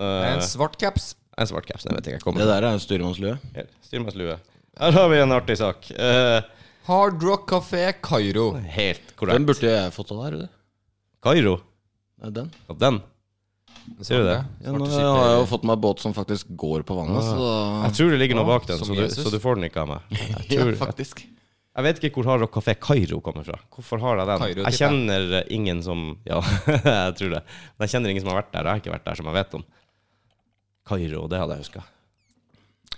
Speaker 2: Eh,
Speaker 4: en svart caps.
Speaker 2: en svart caps, den vet jeg ikke
Speaker 3: Det
Speaker 2: kommer
Speaker 3: der er en styrmannslue.
Speaker 2: til. Styrmannslue. Her har vi en artig sak. Eh,
Speaker 4: Hard Rock Café Kairo.
Speaker 2: helt
Speaker 3: Den
Speaker 2: korrekt.
Speaker 3: burde jeg fått av deg, Rudi.
Speaker 2: Kairo.
Speaker 3: Nei, Den.
Speaker 2: Ja, Den. Ser du det?
Speaker 3: Ja, nå har jeg jo fått meg båt som faktisk går på vannet, så
Speaker 2: Jeg tror det ligger noe
Speaker 4: Ja,
Speaker 2: bak den,
Speaker 4: som
Speaker 2: så du,
Speaker 4: Jesus.
Speaker 2: så du får den
Speaker 4: (laughs)
Speaker 2: ikke av meg. Jeg,
Speaker 3: Ja,
Speaker 2: tror, jeg,
Speaker 3: faktisk.
Speaker 2: vet ikke hvor Hard Rock Café Kairo kommer fra. Hvorfor har jeg den?
Speaker 4: Kairo,
Speaker 2: jeg
Speaker 4: tipper
Speaker 2: kjenner eh, ingen som (laughs) Ja, jeg tror det. Men jeg kjenner ingen som har vært der. Jeg har ikke vært der som jeg vet om. Kairo, det hadde jeg huska.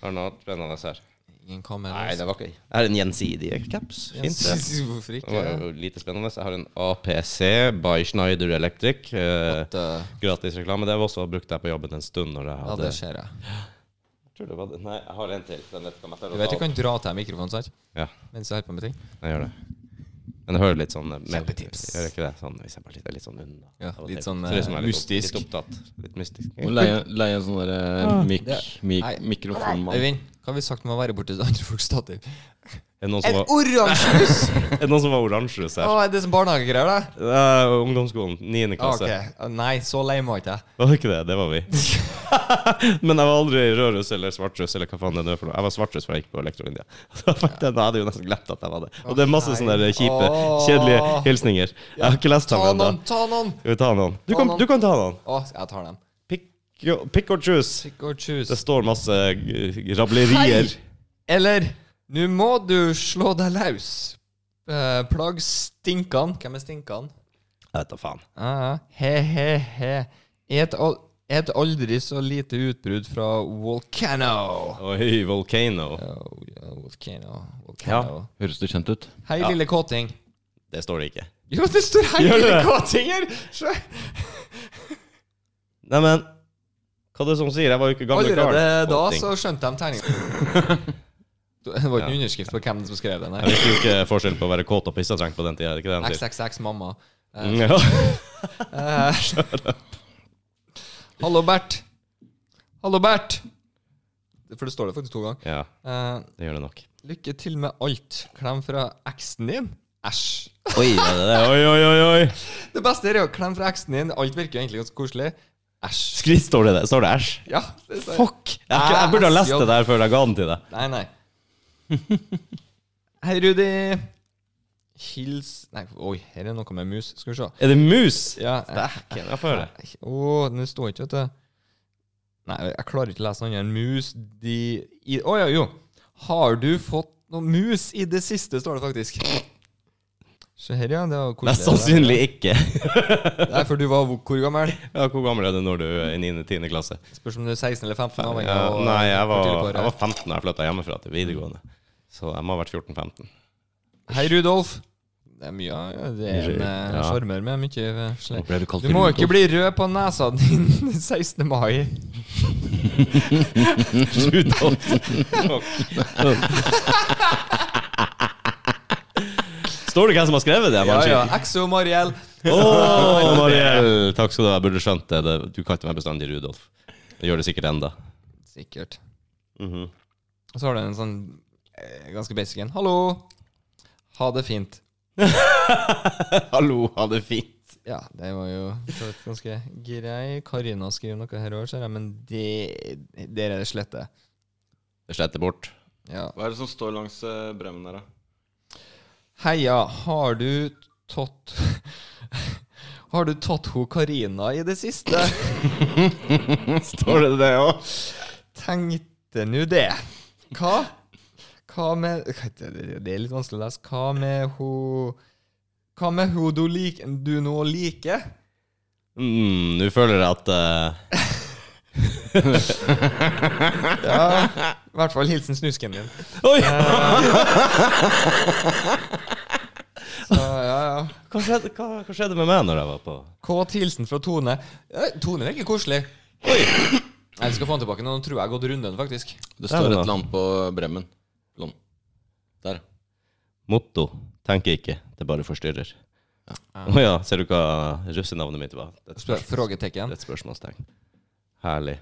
Speaker 2: Har du noe annet spennende her?
Speaker 4: Ingen kamera.
Speaker 2: Nei,
Speaker 4: (laughs)
Speaker 2: det var ikke Jeg har en gjensidig caps. Fint, det.
Speaker 4: Hvorfor
Speaker 2: Det var
Speaker 4: ikke?
Speaker 2: jo lite spennende. Jeg har en APC by Schneider Electric. Eh,
Speaker 4: At, eh,
Speaker 2: gratis reklame. Det var også brukt der på jobben en stund. Når jeg
Speaker 4: Ja,
Speaker 2: hadde
Speaker 4: det ser jeg.
Speaker 2: Jeg tror det var det. Nei, jeg har en til. Den vet ikke om jeg tør
Speaker 4: Du
Speaker 2: å
Speaker 4: vet
Speaker 2: ta
Speaker 4: du
Speaker 2: opp.
Speaker 4: kan dra til mikrofonen, sant?
Speaker 2: Ja,
Speaker 4: Mens jeg holder på med ting.
Speaker 2: jeg gjør det. Men det hører litt sånn eh, med-
Speaker 4: Kjempetips.
Speaker 2: Gjør ikke det? Sånn, hvis jeg bare sitter litt sånn unna.
Speaker 4: Ja,
Speaker 2: av og
Speaker 4: litt
Speaker 2: til.
Speaker 4: sånn,
Speaker 2: Ser ut som jeg er
Speaker 4: eh, mystisk.
Speaker 2: Litt opptatt. Litt mystisk.
Speaker 3: Må leie, leie en sånn derre mik, mik,
Speaker 4: Ah. Nei.
Speaker 3: mikrofonmann.
Speaker 4: Øyvind, hva har vi sagt om å være borti andre folks stativ?
Speaker 2: (laughs) Er det noen som
Speaker 4: Et
Speaker 2: var,
Speaker 4: oransje hus!
Speaker 2: er det noen som var oransjerus her?
Speaker 4: Å, er det som barnehagegreier, da?
Speaker 2: Det er ungdomsskolen, 9.
Speaker 4: Ah,
Speaker 2: klasse.
Speaker 4: ok. Nei, så lame var ikke jeg.
Speaker 2: Var det ikke det? Det var vi. (laughs) Men jeg var aldri rødruss eller svartruss eller hva faen det nå er for noe. Jeg var svartruss for jeg gikk på (laughs) elektrolinja. Så jeg fikk den, jeg hadde jo nesten glemt at jeg var det. Og det er masse
Speaker 4: Åh, nei.
Speaker 2: sånne der kjipe,
Speaker 4: Åh.
Speaker 2: kjedelige hilsninger. Jeg har ikke lest
Speaker 4: Ta
Speaker 2: dem ennå.
Speaker 4: noen, ta noen!
Speaker 2: Skal vi ta noen? Du
Speaker 4: Ta
Speaker 2: kan,
Speaker 4: noen.
Speaker 2: du kan ta noen.
Speaker 4: Å, jeg tar den.
Speaker 2: Pick, jo- pick or choose.
Speaker 4: Pick or choose.
Speaker 2: Det står masse eh, rablerier.
Speaker 4: Hei! Eller Nå må du slå deg løs. Eh, Plagg stinkene. Hvem er stinkene?
Speaker 2: Jeg vet da faen.
Speaker 4: Ah, He-he-he. Et, al et aldri så lite utbrudd fra Volcano.
Speaker 2: Oi, Volcano.
Speaker 4: Oh, ja, volcano, volcano.
Speaker 2: Ja.
Speaker 3: Høres det kjent ut?
Speaker 4: Hei, lille kåting.
Speaker 2: Det står det ikke.
Speaker 4: Jo, det står hei,
Speaker 2: Gjør det?
Speaker 4: lille kåting her! Så-
Speaker 2: Neimen, hva er det som sier? Jeg var jo ikke gammel
Speaker 4: Allerede da
Speaker 2: Ting.
Speaker 4: så skjønte de tegningen.
Speaker 2: (laughs)
Speaker 4: Det var ikke noen underskrift på hvem som skrev den.
Speaker 2: Jeg
Speaker 4: Nei.
Speaker 2: visste jo ikke forskjell på å være kåt og pissetrengt på den tida. er det Ikke det han sier?
Speaker 4: XXX mamma. Eh,
Speaker 2: Ja.
Speaker 4: eh. (laughs) Hallo, Bert. Hallo, Bert. For det står det faktisk to ganger.
Speaker 2: (laughs) ja,
Speaker 4: Eh,
Speaker 2: det gjør det nok.
Speaker 4: lykke til med alt. Klem fra eksen din. Æsj. (laughs)
Speaker 2: Oi, oi, oi, oi, oi.
Speaker 4: Det beste er jo klem fra eksen din. Alt virker jo egentlig ganske koselig. Æsj.
Speaker 2: Skritt står det der. Står det æsj?
Speaker 4: Ja, det står-
Speaker 2: Fuck! Jeg, har ikke- jeg burde ha lest det der før jeg ga den til deg.
Speaker 4: Nei, (laughs) nei. Hei, Rudi. Hils Nei, oi, her er noe med mus. Skal vi se.
Speaker 2: Er det mus?
Speaker 4: Ja, eh, jeg-
Speaker 2: Dæken, jeg får høre.
Speaker 4: Å, den står ikke, vet du. Nei, jeg klarer ikke å lese noe annet enn mus de i- Å ja, jo. Har du fått noe mus i det siste, står det faktisk. Se her, ja. Det var koselig.
Speaker 2: Mest sannsynlig ikke.
Speaker 4: Det er for du var hvor- hvor gammel?
Speaker 2: Ja, hvor gammel er du når du er i 9.-10. klasse?
Speaker 4: Spørs om du er 16 eller 15. avhengig
Speaker 2: Ja,
Speaker 4: av
Speaker 2: Eh, nei, jeg
Speaker 4: hvor
Speaker 2: var,
Speaker 4: tidlig på året.
Speaker 2: jeg var 15 da jeg flytta hjemmefra til videregående. Så jeg må ha vært (laughs) 14-15.
Speaker 4: Hei, Rudolf. Det er mye ja, Det er en eh,
Speaker 2: Ja.
Speaker 4: sjarmer med mye eh, sleng.
Speaker 3: Nå ble du kalt
Speaker 4: Du må ikke
Speaker 3: Rudolf.
Speaker 4: bli rød på nesa din (laughs) 16. mai.
Speaker 2: Rudolf. Står det hvem som har skrevet det? jeg
Speaker 4: Ja,
Speaker 2: bare
Speaker 4: ja.
Speaker 2: sier?
Speaker 4: Exo Mariell.
Speaker 2: Åh, Mariell! Takk skal du ha. Jeg burde skjønt det. det. Du kalte meg bestandig Rudolf. Jeg gjør det sikkert enda
Speaker 4: Sikkert.
Speaker 2: Mhm.
Speaker 4: Og så har du en sånn eh, ganske basic en. Hallo! Ha det fint.
Speaker 2: Hallo, ha det fint.
Speaker 4: Ja, det var jo så vidt ganske grei. Karina skriver noe her òg, ser jeg, men det der er det slette.
Speaker 2: Det sletter bort.
Speaker 4: Ja.
Speaker 3: Hva er det som står langs eh, bremmen der, da?
Speaker 4: Heia, har du tatt (laughs) Har du tatt ho Karina i det siste?
Speaker 2: (laughs) Står det det òg?
Speaker 4: Tenkte nu det. Hva? Hva med (laughs) Det er litt vanskelig å lese. Hva med ho Hva med ho du, lik, du nå liker?
Speaker 2: Mm, Nå føler jeg at eh,
Speaker 4: Ja. I hvert fall hilsen snusken din.
Speaker 2: Oi!
Speaker 4: Så, ja, ja.
Speaker 2: Hva skjedde, hva, hva skjedde med meg når jeg var på
Speaker 4: Kåt hilsen fra Tone. Ja, Tone virker koselig.
Speaker 2: Oi!
Speaker 4: Jeg skal få han tilbake. Nå tror jeg jeg har gått runden, faktisk.
Speaker 3: Det
Speaker 2: Der,
Speaker 3: står et
Speaker 2: da.
Speaker 3: eller annet på bremmen. Lån. Der.
Speaker 2: Motto. Tenker ikke. Det bare forstyrrer. Å ja. Ser du hva russenavnet mitt var? Det er et,
Speaker 4: Spør-
Speaker 2: spørsmål, det
Speaker 4: Frågetekken.
Speaker 2: er et spørsmålstegn. Herlig.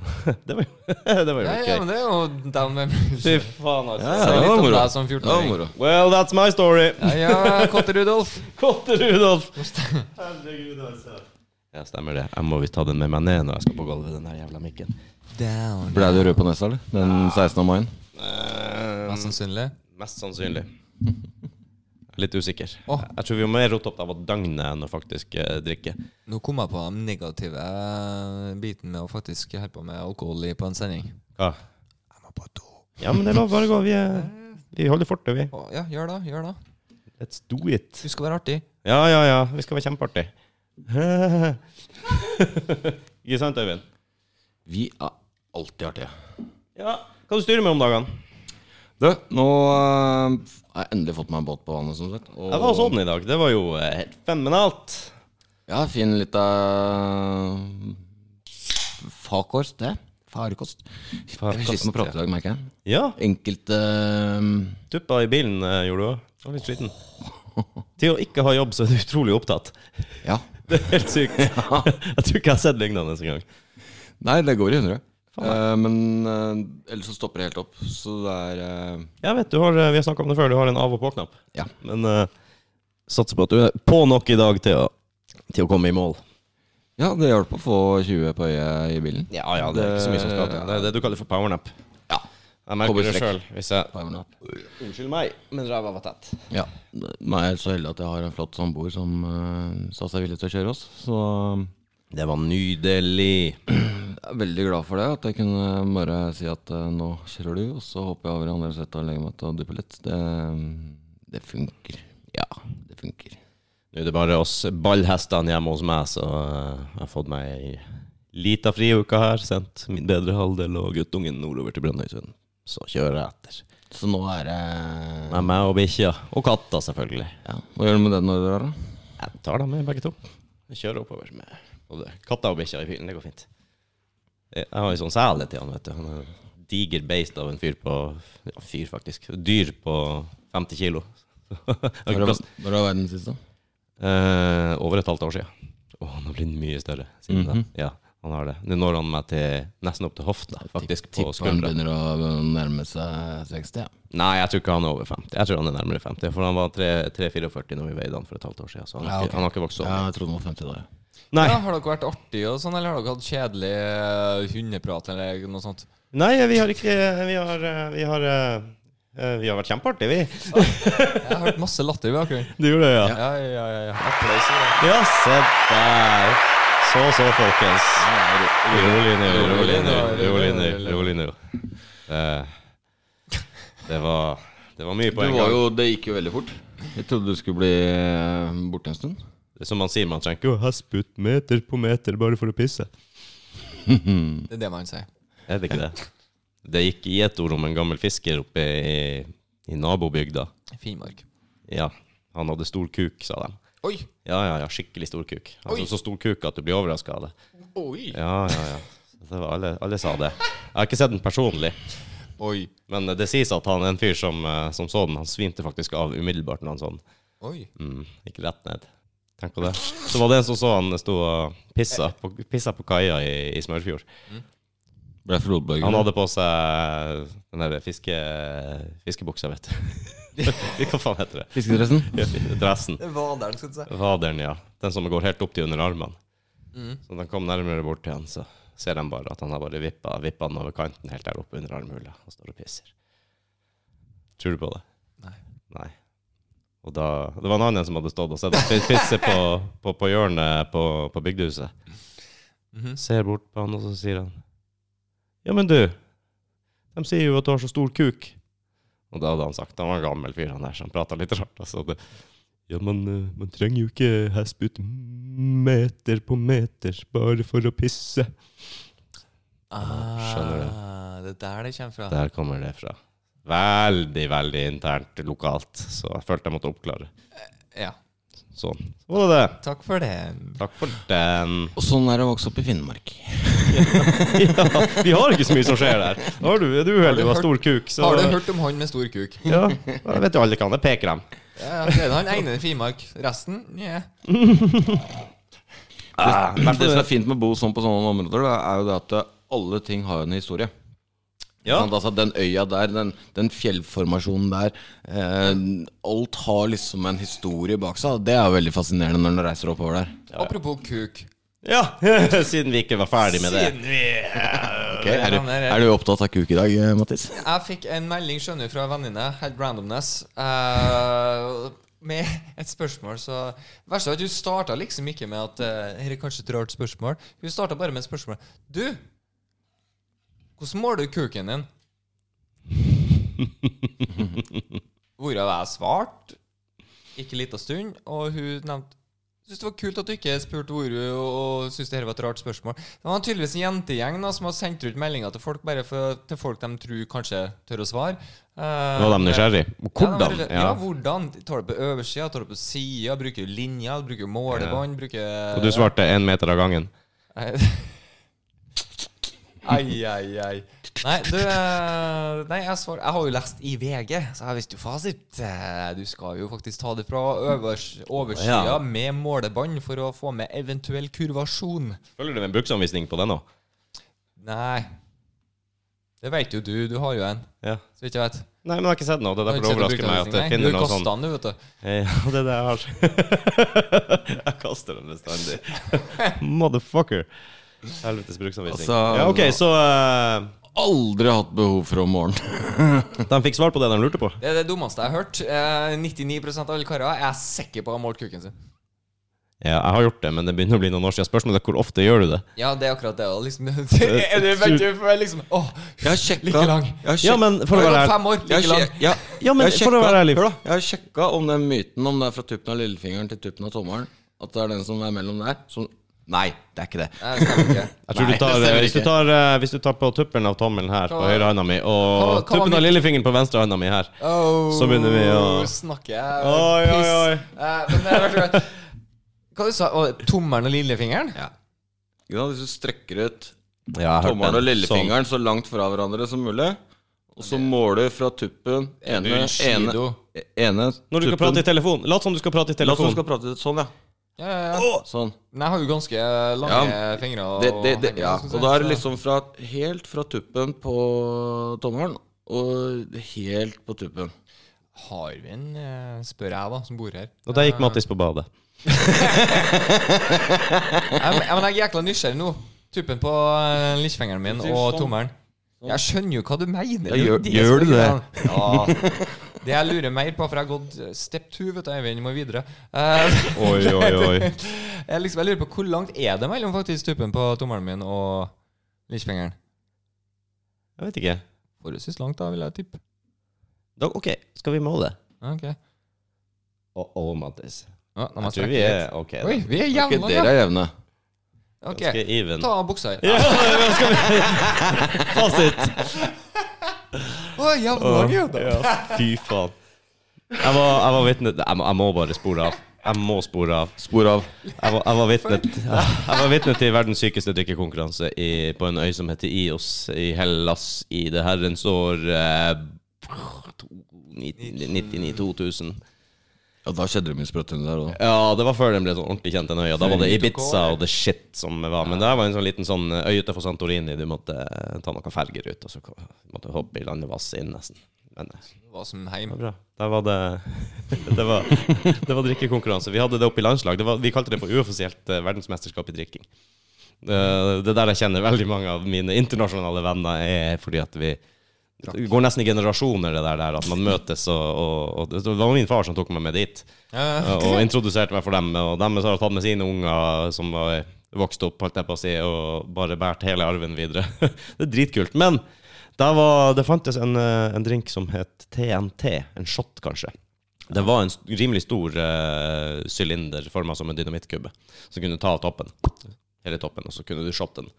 Speaker 2: (laughs) det var jo (laughs) det var jo
Speaker 4: Ja,
Speaker 2: litt
Speaker 4: ja,
Speaker 2: gøy.
Speaker 4: men det er jo down med
Speaker 2: Fy
Speaker 4: music.
Speaker 2: faen, altså.
Speaker 4: Si
Speaker 3: det
Speaker 4: litt
Speaker 3: var
Speaker 4: om
Speaker 3: moro.
Speaker 4: deg som
Speaker 3: Det var
Speaker 4: 14-åring.
Speaker 3: moro.
Speaker 2: Well, that's my story.
Speaker 4: Ja, ja, Kotte Rudolf.
Speaker 2: Kotte Rudolf. Herregud, altså. Ja, stemmer det. Jeg må visst ta den med meg ned når jeg skal på gulvet, den der jævla mikken.
Speaker 4: Down.
Speaker 3: Ble du rød på nesa, eller? Den 16. mai?
Speaker 2: Eh,
Speaker 4: Mest sannsynlig.
Speaker 2: Mest sannsynlig. Litt usikker.
Speaker 4: Åh.
Speaker 2: Jeg tror vi var mer opptatt av å døgne enn å faktisk eh, drikke.
Speaker 4: Nå kom jeg på den negative eh, biten med å faktisk holde på med alkohol i- på en sending.
Speaker 2: Hva?
Speaker 4: Jeg må på do.
Speaker 2: Ja, men det er lov. Bare gå. Vi, er- vi holder fortet, vi.
Speaker 4: Å, ja, gjør det. Gjør det.
Speaker 2: Let's do it.
Speaker 4: Du skal være artig.
Speaker 2: Ja, ja, ja. Vi skal være kjempeartig. (laughs) Ikke sant, Øyvind?
Speaker 3: Vi er alltid artige.
Speaker 2: Ja. Hva du styrer med om dagene?
Speaker 3: Du, nå eh, har jeg endelig fått meg en båt på vannet, som sagt. Og
Speaker 2: Jeg var hos Odden i dag. Det var jo eh, helt fenomenalt.
Speaker 3: Ja, fin lita Farkost, det. Farkost. Jeg vil sliten på å prate i dag, merker jeg.
Speaker 2: Ja.
Speaker 3: Enkelte eh,
Speaker 2: Tuppa i bilen eh, gjorde du òg. Var litt sliten. Til å ikke ha jobb, så er du utrolig opptatt.
Speaker 3: Ja.
Speaker 2: (laughs) Det er helt sykt. Jeg tror ikke jeg har sett lignende engang.
Speaker 3: Nei, det går i hundre. Eh, men eh, ellers så stopper det helt opp. Så det er eh,
Speaker 2: Jeg vet, du har, eh, Vi har snakka om det før, du har en av- og på-knapp.
Speaker 3: Ja.
Speaker 2: Men eh, satser på at du er på nok i dag til å, til å komme i mål.
Speaker 3: Ja, det hjalp å få 20 på øyet i bilen. Eh,
Speaker 2: Ja, ja, det er ikke så mye som skal til. Det er det du kaller for powernap.
Speaker 3: Ja.
Speaker 2: Jeg merker det sjøl
Speaker 3: Kobberstrekk.
Speaker 2: hvis jeg
Speaker 3: Powernap.
Speaker 2: Unnskyld meg, men ræva var tett.
Speaker 3: Ja. Nå er jeg så heldig at jeg har en flott samboer som eh, sa seg villig til å kjøre oss. Så
Speaker 2: eh, Det var nydelig.
Speaker 3: jeg er veldig glad for det. At jeg kunne bare si at eh, nå kjører du, og så hopper jeg over i andre settet og legger meg til å duppe litt. Det, det funker. Ja, det funker.
Speaker 2: Nå er det bare oss ballhestene hjemme hos meg, så eh, jeg har fått meg ei lita friuke her. Sendt min bedre halvdel og guttungen nordover til Brønnøysund. Så kjører jeg etter.
Speaker 3: Så nå er det
Speaker 2: Med meg og bikkja. Og katta, selvfølgelig.
Speaker 3: ja. Hva gjør du med den når du drar, da?
Speaker 2: Jeg tar dem med, begge to. Jeg kjører oppover med både katta og bikkja i bilen. Det går fint. Jeg jeg har en sånn sele til han, vet du. Han er en diger beist av en fyr på ja, Fyr, faktisk. Dyr på 50 kilo. Jeg
Speaker 3: Når
Speaker 2: har ikke
Speaker 3: var-
Speaker 2: plass.
Speaker 3: når var verden sist, da?
Speaker 2: Eh, over et halvt år siden. Og han har blitt mye større siden
Speaker 3: Mhm.
Speaker 2: da. Ja, han har det. Nå når han meg til nesten opp til hofta, faktisk. På
Speaker 3: Tipper han
Speaker 2: skuldra.
Speaker 3: begynner å nærme seg 60. Ja.
Speaker 2: Nei, jeg tror ikke han er over 50. Jeg tror han er nærmere 50. For han var 3-44 når vi veide han for et halvt år siden. Så han,
Speaker 3: Ja,
Speaker 2: har
Speaker 3: ok.
Speaker 2: ikke, han har ikke vokst så
Speaker 3: Ja,
Speaker 2: mye.
Speaker 3: jeg trodde den var 50 da. ja.
Speaker 2: Nei.
Speaker 4: Ja, har dere vært artige og sånn, eller har dere hatt kjedelig eh, hundeprat eller noe sånt?
Speaker 2: Nei, vi har ikke Vi har, eh, vi har, eh, eh, vi har vært kjempeartige, vi.
Speaker 4: Jeg har hørt masse latter i bakgrunnen.
Speaker 2: Du gjorde det, ja?
Speaker 4: Ja, ja, ja. ja. Applaus. i det.
Speaker 2: Ja, se der. Så, så, folkens. Rolig nå, rolig nå, rolig nå. Rolig nå. Eh, Det var Det var mye på
Speaker 3: Det
Speaker 2: en
Speaker 3: var
Speaker 2: gang.
Speaker 3: jo, det gikk jo veldig fort. Jeg trodde du skulle bli eh, borte en stund.
Speaker 2: Det er Som man sier, man trenger ikke å hespe ut meter på meter bare for å pisse.
Speaker 4: Det er det man sier.
Speaker 2: Er det ikke det? Det gikk i et ord om en gammel fisker oppe i, i nabobygda.
Speaker 4: Finnmark.
Speaker 2: Ja, han hadde stor kuk, sa de.
Speaker 4: Oi!
Speaker 2: Ja, ja, ja, skikkelig stor kuk.
Speaker 4: Oi.
Speaker 2: Altså, så stor kuk at du blir overraska av det.
Speaker 4: Oi!
Speaker 2: Ja, ja, ja. Det var alle, alle sa det. Jeg har ikke sett den personlig,
Speaker 4: Oi!
Speaker 2: men det sies at han er en fyr som, eh, som så den. Han svimte faktisk av umiddelbart når han så den.
Speaker 4: Oi!
Speaker 2: Mm, gikk rett ned. Tenk på det. Så var det en som så han sto og pissa på, pissa på kaia i, i Smørfjord.
Speaker 3: Ble flodbølger.
Speaker 2: Han hadde på seg den der fiske, fiskebuksa, vet du. (laughs) Hva faen heter det?
Speaker 3: Fiskedressen?
Speaker 2: Dressen.
Speaker 4: Det var der den skulle si.
Speaker 2: Vaderen, ja. Den som går helt opp til under armene.
Speaker 4: Mm.
Speaker 2: Så når de kom nærmere bort til han, så ser de bare at han har bare vippa, vippa han over kanten helt der oppe under armhula og står og pisser. Tror du på det?
Speaker 4: Nei.
Speaker 2: Nei. Og da, det var en annen som hadde stått og sett ham pisse på, på, på hjørnet på, på bygdehuset.
Speaker 4: Mhm.
Speaker 2: Ser bort på han, og så sier han Ja, men du, de sier jo at du har så stor kuk. Og da hadde han sagt Han var en gammel fyr, han der, så han prata litt rart. Altså, det, ja, men eh, man trenger jo ikke hespe ut meter på meter bare for å pisse. Skjønner det.
Speaker 4: Ah, det er der det kommer fra.
Speaker 2: Der kommer det fra. Veldig, veldig internt lokalt, så jeg følte jeg måtte oppklare.
Speaker 4: Ja.
Speaker 2: Sånn. Så var det det.
Speaker 4: Takk for det.
Speaker 2: Takk for den.
Speaker 3: Og sånn er det å vokse opp i Finnmark.
Speaker 2: (laughs) Ja, vi har ikke så mye som skjer der. Har du, er du uheldig og har stor kuk, så
Speaker 4: Har du hørt om han med stor kuk?
Speaker 2: Ja, jeg vet jo alle kan det. Peker dem.
Speaker 4: Ja, ja, det er han ene i Finnmark. Resten? Nja.
Speaker 2: Ah,
Speaker 3: Men det som er fint med å bo sånn på sånne områder, da, er jo det at eh, alle ting har en historie.
Speaker 2: Ja.
Speaker 3: Sant? Altså, den øya der, den, den fjellformasjonen der eh, Alt har liksom en historie bak seg. og Det er jo veldig fascinerende når du reiser oppover der.
Speaker 4: Apropos kuk.
Speaker 2: ja, (laughs) siden vi ikke var ferdig med det.
Speaker 4: Siden
Speaker 2: eh,
Speaker 4: vi
Speaker 3: Ok, er,
Speaker 4: Ja,
Speaker 3: du,
Speaker 4: det er-
Speaker 3: er du opptatt av kuk i dag, eh, Mattis?
Speaker 4: Jeg fikk en melding skjønner du, fra en venninne, helt randomness, eh, med et spørsmål. Så verst er at hun starta liksom ikke med at eh, Her er kanskje et rart spørsmål. Hun starta bare med et spørsmål. Du, hvordan måler du kuken
Speaker 2: (laughs)
Speaker 4: din? Hvorav jeg svarte ikke lita stund, og hun nevnte Syns det var kult at du ikke spurte hvor hun og syntes det her var et rart spørsmål. Det var tydeligvis en jentegjeng da, som har sendt ut meldinger til folk bare for, til folk de tror kanskje tør å svare. Eh,
Speaker 2: Var de nysgjerrig?
Speaker 4: Ja,
Speaker 2: Hvordan?
Speaker 4: de var- ja,
Speaker 2: Ja.
Speaker 4: hvordan? Tar du på oversida, tar du på sida, bruker du linjer, bruker du målebånd, bruker
Speaker 2: Og du svarte én meter av gangen.
Speaker 4: Ai, ai, ai. Nei, du eh, Nei, jeg, svar, jeg har jo lest i VG, så jeg visste jo fasit. Eh, Du skal jo faktisk ta det fra øvers, oversida
Speaker 2: Ja.
Speaker 4: med målebånd for å få med eventuell kurvasjon.
Speaker 2: Følger du med en bruksanvisning på den òg?
Speaker 4: Nei. Det vet jo du. Du har jo en,
Speaker 2: Ja.
Speaker 4: så vidt jeg vet.
Speaker 2: Nei, men jeg har ikke sett noe. Det er derfor det
Speaker 4: Jeg har ikke
Speaker 2: overrasker
Speaker 4: sett du
Speaker 2: meg at
Speaker 4: bruker den,
Speaker 2: jeg
Speaker 4: nei.
Speaker 2: finner noe sånn.
Speaker 4: Du kaster den, vet du.
Speaker 2: Ja, det er det jeg har. (laughs) jeg kaster den bestandig. (laughs) Motherfucker. Helvetes bruksanvisning.
Speaker 3: Altså-
Speaker 2: ja, ok, så eh,
Speaker 3: Aldri hatt behov for om morgenen.
Speaker 2: de fikk svar på det de lurte på?
Speaker 4: Det er det dummeste jeg har hørt. Eh, 99 av alle karer er sikre på å ha målt kuken sin.
Speaker 2: Ja, jeg har gjort det, men det begynner å bli noen år siden. Spørsmålet er hvor ofte gjør du det?
Speaker 4: Ja, det er akkurat det. og Liksom, (laughs) det er det vet du, for jeg liksom Åh,
Speaker 3: Jeg har sjekka
Speaker 4: Like lang.
Speaker 3: Jeg har
Speaker 2: Ja,
Speaker 3: sjek-
Speaker 2: men for å
Speaker 4: det har gått
Speaker 2: være ærlig
Speaker 4: fem år.
Speaker 3: jeg
Speaker 4: Like
Speaker 3: har
Speaker 4: lang.
Speaker 3: sjek- ja.
Speaker 2: Ja, men
Speaker 3: Jeg har
Speaker 2: for å
Speaker 3: sjekka-
Speaker 2: være ærlig
Speaker 3: Hør da, jeg har sjekka om den myten, om det er fra tuppen av lillefingeren til tuppen av tommelen, at det er den som er mellom der, som Nei, det er ikke det.
Speaker 4: Nei, det stemmer
Speaker 2: (laughs)
Speaker 4: ikke.
Speaker 2: jeg tror du
Speaker 3: Nei, det
Speaker 2: tar,
Speaker 3: stemmer
Speaker 2: hvis, du
Speaker 3: ikke.
Speaker 2: tar, eh, hvis du tar på tuppen av tommelen her på
Speaker 4: Hva-
Speaker 2: høyre handa mi, og
Speaker 4: hva- hva var
Speaker 2: tuppen av
Speaker 4: mitt-
Speaker 2: lillefingeren på venstre handa mi her
Speaker 4: Oh,
Speaker 2: Så begynner vi å-
Speaker 4: snakke. eh,
Speaker 2: Oi, oi, oi.
Speaker 4: piss. Eh, men det er akkurat- Hva du sa du? Tommelen og lillefingeren?
Speaker 3: Ja. Ikke sant? Hvis du strekker ut
Speaker 2: ja, jeg hørte
Speaker 3: tommelen og
Speaker 2: den. sånn.
Speaker 3: lillefingeren så langt fra hverandre som mulig, og så måler du fra tuppen ene, ene,
Speaker 4: Bushido.
Speaker 3: ene
Speaker 2: Sånn. Når du skal prate i telefon, lat som du skal prate i
Speaker 3: La oss
Speaker 2: telefon.
Speaker 3: skal prate sånn, ja.
Speaker 4: Ja, ja, ja.
Speaker 3: Sånn.
Speaker 4: Nei, jeg har jo ganske lange fingre. Og
Speaker 3: Det, det, det,
Speaker 4: henger,
Speaker 3: ja.
Speaker 4: skal
Speaker 3: Og
Speaker 4: jeg si,
Speaker 3: da er det
Speaker 4: så-
Speaker 3: liksom fra, helt fra tuppen på tommelen og helt på tuppen.
Speaker 4: Har vi en, eh, spør jeg, da, som bor her.
Speaker 2: Og der gikk Mattis på badet.
Speaker 4: Jeg, men- jeg, men jeg er jækla nysgjerrig nå. Tuppen på eh, lillefingeren min
Speaker 3: sier
Speaker 4: og
Speaker 3: sånn.
Speaker 4: tommelen. Jeg skjønner jo hva du mener.
Speaker 3: Ja,
Speaker 4: er jo
Speaker 3: gjør-
Speaker 4: det
Speaker 3: gjør
Speaker 4: som
Speaker 3: du
Speaker 4: er greia. Ja. Det jeg lurer mer på, for jeg har gått eh, step two, vet du, Eivind, må videre Eh,
Speaker 2: Oi, oi, oi.
Speaker 4: (laughs) jeg, liksom, jeg lurer på hvor langt er det mellom faktisk tuppen på tommelen min og lillefingeren?
Speaker 2: (laughs) Jeg vet ikke.
Speaker 4: Forholdsvis langt, da, vil jeg tippe.
Speaker 2: Da, ok, skal vi måle?
Speaker 4: Ja, Ok.
Speaker 2: Å, å, Mattis.
Speaker 4: Ja, da må
Speaker 2: Jeg
Speaker 4: jeg
Speaker 2: tror
Speaker 4: strekke
Speaker 2: vi
Speaker 4: litt.
Speaker 2: er ok. da.
Speaker 4: Oi, vi er
Speaker 3: Ikke
Speaker 4: jævla
Speaker 3: dere
Speaker 4: langt.
Speaker 3: er jevne.
Speaker 4: Ok,
Speaker 2: Ganske even.
Speaker 4: Ta av buksa her.
Speaker 2: Ja, hva skal vi (laughs) Fasit.
Speaker 4: Å, jævla lang, jo.
Speaker 2: Ja, fy faen. Jeg var, jeg var vitne jeg må, jeg må bare spore av. Jeg må spore av.
Speaker 3: Spor av.
Speaker 2: Jeg var, jeg var, vitne, (laughs) jeg var vitne til verdens sykeste dykkerkonkurranse i, på en øy som heter Ios i Hellas i det herrens år eh, 99-2000.
Speaker 3: Ja, da skjedde det mye sprøtt under der òg.
Speaker 2: Ja, det var før den ble sånn ordentlig kjent, den øya. Da var det Ibiza og the shit som var. Men det her var en sånn liten sånn øy utenfor Santorini. Du måtte eh, ta noen ferger ut, og så ko- måtte du hoppe i landevasset inn, nesten. Men eh,
Speaker 4: Hva som heim.
Speaker 2: det var bra. Der var det (laughs) Det var, det var drikkekonkurranse. Vi hadde det oppe i landslag. Det var, vi kalte det for uoffisielt eh, verdensmesterskap i drikking. Eh, Det er der jeg kjenner veldig mange av mine internasjonale venner, er fordi at vi det går nesten i generasjoner, det der, der at man møtes og, og, og Det var min far som tok meg med dit.
Speaker 4: Eh, (laughs)
Speaker 2: Og introduserte meg for dem. Og dem har tatt med sine unger som var vokst opp, holdt jeg på å si, og bare båret hele arven videre. (laughs) det er dritkult. Men der var, det fantes en, eh, en drink som het TNT. En shot, kanskje. Det var en st- rimelig stor eh, sylinder forma som en dynamittkubbe, som kunne ta toppen. Hele toppen, og så kunne du shotte den.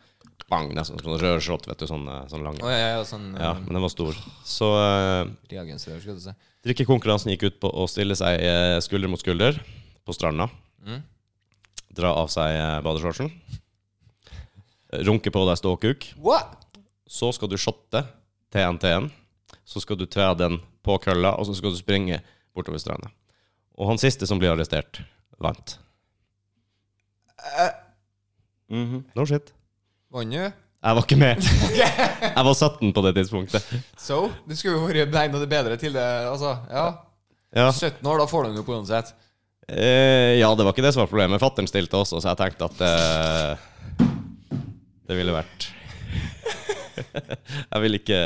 Speaker 2: Bang, nesten som en rød shot, vet du. Sånn, eh, sånn lang.
Speaker 4: Å, ja, ja, sånn
Speaker 2: Ja,
Speaker 4: eh,
Speaker 2: men den var stor. Så eh,
Speaker 4: reagensrør, skal du si.
Speaker 2: Drikkekonkurransen gikk ut på å stille seg eh, skulder mot skulder på stranda.
Speaker 4: Mm.
Speaker 2: Dra av seg eh, badeshortsen. Runke på deg ståkuk.
Speaker 4: What?
Speaker 2: Så skal du shotte TNT-en. Så skal du tre den på kølla, og så skal du springe bortover stranda. Og han siste som blir arrestert, vant. Mhm. No shit.
Speaker 4: Vant du?
Speaker 2: Jeg var ikke med. Jeg var 17 på det tidspunktet.
Speaker 4: So, du skulle jo vært beina det bedre til det. Altså, ja.
Speaker 2: Ja.
Speaker 4: 17 år, da får du den jo på uansett.
Speaker 2: Eh, ja, det var ikke det som var problemet. Fattern stilte også, så jeg tenkte at eh, det ville vært (laughs) Jeg vil ikke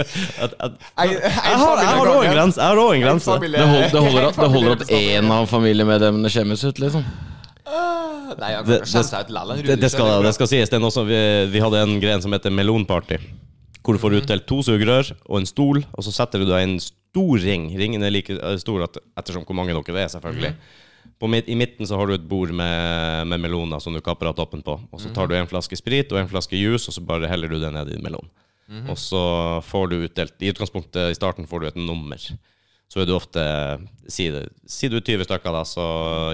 Speaker 2: (laughs) at, at,
Speaker 4: Jeg,
Speaker 2: Jeg har jeg har òg en grense. Jeg har også en grense.
Speaker 3: Det, hold, det, holder at, det holder (laughs) at én av familiemedlemmene skjemmes ut, liksom.
Speaker 4: Ah, Nei, jeg
Speaker 2: Det-
Speaker 4: kan skjemme seg ut lell.
Speaker 2: Det, det, skal, det skal sies. Det er noe som vi, vi hadde en gren som heter melonparty. Hvor du får utdelt to sugerør og en stol, og så setter du deg i en stor ring. Ringen er like eh, stor at, ettersom hvor mange dere er, selvfølgelig. På midt, I midten så har du et bord med, med meloner som du kapper av toppen på. Og så tar du en flaske sprit og en flaske juice, og så bare heller du det ned i melonen. Og så får du utdelt I utgangspunktet i starten får du et nummer. Så er du ofte Si, det, si du er 20 stykker, da, så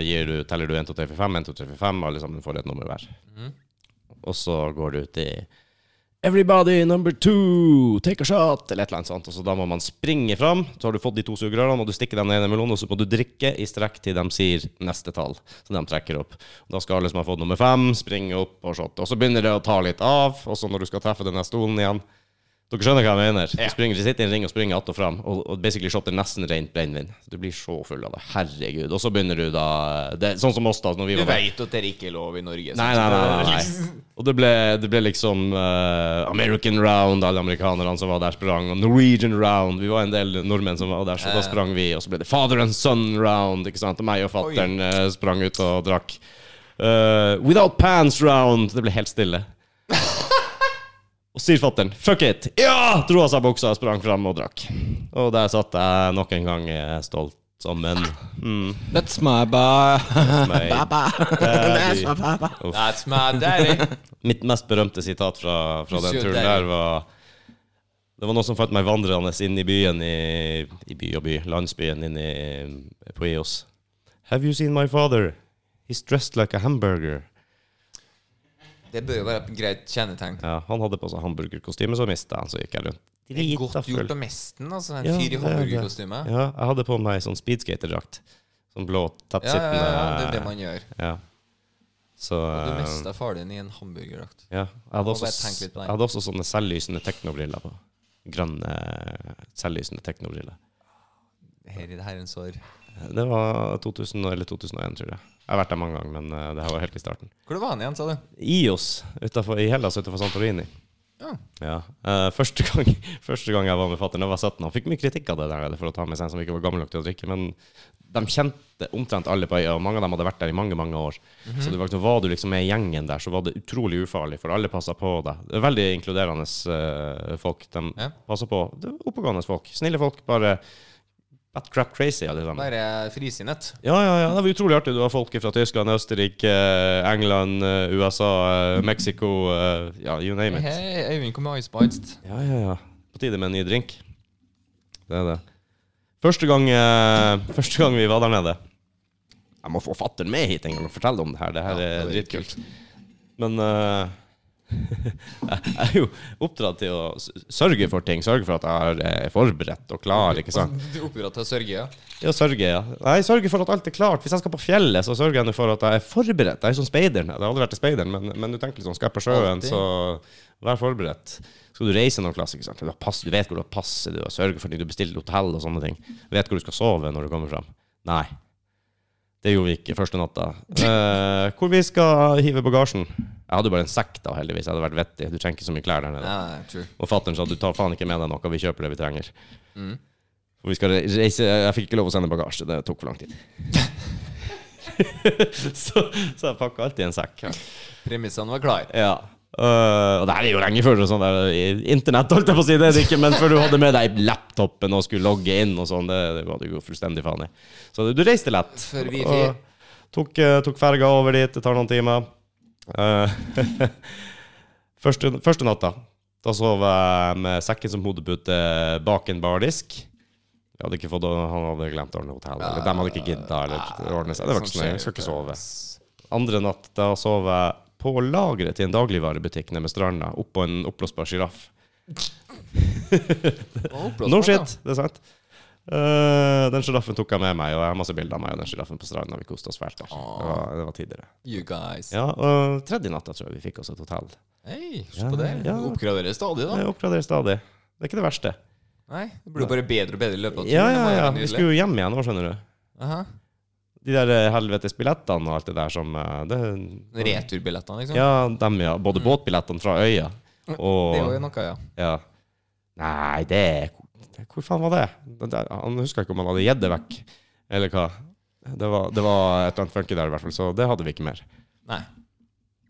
Speaker 2: gir du, teller du 1, 2, 3, 4, 5, 1, 2, 3, 4, 5, alle sammen liksom får et nummer hver. Og så går det ut i Everybody number two, take a shot, eller et eller annet sånt. Og så da må man springe fram. Så har du fått de to sugerørene, må du stikke dem ned i den melonen, og så må du drikke i strekk til de sier neste tall. Så de trekker opp. Da skal alle som har fått nummer fem, springe opp og shotte. Og så begynner det å ta litt av, og så når du skal treffe den der stolen igjen, Dere skjønner hva jeg mener? Du springer, sitter i en ring og springer att og fram, og, og basically shopper nesten rent brennevin. Du blir så full av det. Herregud. Og så begynner du da det, er Sånn som oss, da. Når vi
Speaker 1: Du
Speaker 2: var der.
Speaker 1: veit at det ikke er lov i Norge.
Speaker 2: Nei, nei, nei. nei, nei. (laughs) Og det ble, det ble liksom eh, American round, alle amerikanerne som var der, sprang. Og Norwegian round. Vi var en del nordmenn som var der, så da sprang vi. Og så ble det father and son round. Ikke sant? Og meg og fattern eh, sprang ut og drakk. Eh, without pants round. Det ble helt stille. (laughs) Og sier fattern 'fuck it'. Ja! Dro av seg buksa og sprang fram og drakk. Og der satt jeg nok en gang eh, stolt som en (laughs) mm,
Speaker 3: That's my ba...
Speaker 2: meg.
Speaker 3: (laughs) Baba. That's my baba.
Speaker 1: That's my
Speaker 4: (laughs)
Speaker 1: daddy.
Speaker 2: Mitt mest berømte sitat fra, fra den
Speaker 1: Monsieur
Speaker 2: turen
Speaker 1: Dale.
Speaker 2: der var Det var noen som fant meg vandrende inn i byen, i, i by og by, landsbyen inne i- eh, på Eos. Have you seen my father? He's dressed like a hamburger.
Speaker 1: Det bør jo være et greit kjennetegn.
Speaker 2: Ja, han hadde på seg hamburgerkostyme, så mista han, så gikk jeg rundt.
Speaker 1: Det er godt gjort av mesten, altså. En
Speaker 2: Ja,
Speaker 1: fyr
Speaker 2: det
Speaker 1: i
Speaker 2: er
Speaker 1: hamburgerkostyme. Ja,
Speaker 2: Ja, jeg hadde på meg sånn speedskaterdrakt. Sånn blå,
Speaker 1: ja,
Speaker 2: tettsittende
Speaker 1: ja, det er det man gjør.
Speaker 2: ja. Så
Speaker 1: Du
Speaker 2: eh,
Speaker 1: mista faren din i en hamburgerdrakt.
Speaker 2: Ja. Jeg hadde,
Speaker 1: må
Speaker 2: også,
Speaker 1: bare tenke litt på den.
Speaker 2: jeg hadde også sånne selvlysende teknobriller på. Grønne selvlysende teknobriller.
Speaker 1: Her i det her en sår.
Speaker 2: Det var 2000 eller 2001, tror jeg. Jeg har vært der mange ganger, men eh, det her var helt i starten.
Speaker 1: Hvor var han igjen, sa du?
Speaker 2: IOS utenfor, i Hellas utenfor Santorini.
Speaker 1: Ja.
Speaker 2: Ja. Eh, første, gang, (laughs) første gang jeg var med fatter'n, da var jeg 17. Han fikk mye kritikk av det der for å ta med seg en som ikke var gammel nok til å drikke, men de kjente omtrent alle på øya, og mange av dem hadde vært der i mange, mange år.
Speaker 1: Mhm.
Speaker 2: Så det var, ikke noe- var du liksom med i gjengen der, så var det utrolig ufarlig, for alle passa på deg. Det er Veldig inkluderende eh, folk. De
Speaker 1: Ja.
Speaker 2: passer på. Det er oppegående folk. Snille folk. Bare bat crap crazy, alle sammen.
Speaker 1: Bare frisinnet.
Speaker 2: Ja, ja, ja. Det var utrolig artig. Du har folk fra Tyskland, Østerrike, eh, England, eh, USA, eh, Mexico eh, Ja, you name it.
Speaker 4: Hei, Øyvind kom med Ice Bites.
Speaker 2: Ja, ja, ja. På tide med en ny drink. Det er det. Første gang, eh, første gang vi var der nede Jeg må få fatter'n med hit en gang og fortelle om det her. Det her er dritkult. Men eh, (laughs) jeg er jo oppdratt til å s- sørge for ting. Sørge for at jeg er eh, forberedt og klar. ikke sant?
Speaker 1: (laughs) Du oppdratt til å sørge, ja.
Speaker 2: Ja, sørge, ja. Nei, sørge for at alt er klart. Hvis jeg skal på fjellet, så sørger jeg nå for at jeg er forberedt. Jeg er sånn speideren. Jeg har aldri vært i speideren, men, men du tenker liksom, skal jeg på sjøen,
Speaker 1: Alltid.
Speaker 2: så vær forberedt. Skal du reise noen klasse, ikke sant? Du, har pass, du vet hvor du har passet, du har sørget for det, du bestiller hotell og sånne ting. Du vet hvor du skal sove når du kommer fram. Nei. Det gjorde vi ikke første natta. Eh, hvor vi skal hive bagasjen? Jeg hadde jo bare en sekk da, heldigvis. Jeg hadde vært vettig. Du trenger ikke så mye klær der nede.
Speaker 1: ja true.
Speaker 2: Og fatteren sa du tar faen ikke med deg noe, vi kjøper det vi trenger. For vi skal re- reise Jeg fikk ikke lov å sende bagasje, det tok for lang tid. (laughs) så, så jeg pakka alltid en sekk.
Speaker 1: Premissene var
Speaker 2: (laughs)
Speaker 1: klare.
Speaker 2: Ja. Øh, og det her er jo lenge før sånn der i- internett, holdt jeg på å si, det er det ikke, men før du hadde med deg laptopen og skulle logge inn og sånn, det, det var du jo fullstendig faen i. Så du, du reiste lett.
Speaker 1: Før vi
Speaker 2: Og-
Speaker 1: fikk-
Speaker 2: Tok, eh, tok ferga over dit, det tar noen timer. Eh, (laughs) første, første natta, da sov jeg med sekken som hodepute bak en bardisk. Jeg hadde ikke fått, han hadde glemt å ordne hotell, eller de hadde ikke gidda eller
Speaker 1: Ah,
Speaker 2: ordne seg. Det var
Speaker 1: sånn
Speaker 2: ikke så nøye, jeg skal ikke sove. Andre natt da sov jeg på lageret til en dagligvarebutikk nede med stranda, oppå en oppblåsbar sjiraff. No shit, det er sant. Eh, den sjiraffen tok jeg med meg, og jeg har masse bilder av meg og den sjiraffen på stranda. Vi koste oss fælt der. Det var, det var tidligere.
Speaker 1: You guys.
Speaker 2: Ja, og tredje natta tror jeg vi fikk oss et hotell.
Speaker 1: Hei, se
Speaker 2: Ja,
Speaker 1: på det.
Speaker 2: ja.
Speaker 1: Du oppgraderer stadig, da.
Speaker 2: Jeg oppgraderer stadig. Det er ikke det verste.
Speaker 1: Nei, Det blir jo bare bedre og bedre i løpet av turen.
Speaker 2: Ja,
Speaker 1: Det
Speaker 2: ja,
Speaker 1: må jo
Speaker 2: ja.
Speaker 1: være
Speaker 2: Vi
Speaker 1: nydelig.
Speaker 2: skulle jo hjem igjen nå, skjønner du.
Speaker 1: Aha.
Speaker 2: De der eh, helvetes billettene og alt det der som eh, det,
Speaker 1: Returbillettene, liksom.
Speaker 2: Ja, dem, ja. Både båtbillettene fra øya
Speaker 1: (laughs)
Speaker 2: og
Speaker 1: Det er jo noe, ja.
Speaker 2: Ja. Nei, det det- Hvor faen var det? det der, han husker ikke om han hadde gitt det vekk, eller hva. Det var, det var et eller annet funky der, i hvert fall, så det hadde vi ikke mer.
Speaker 1: Nei.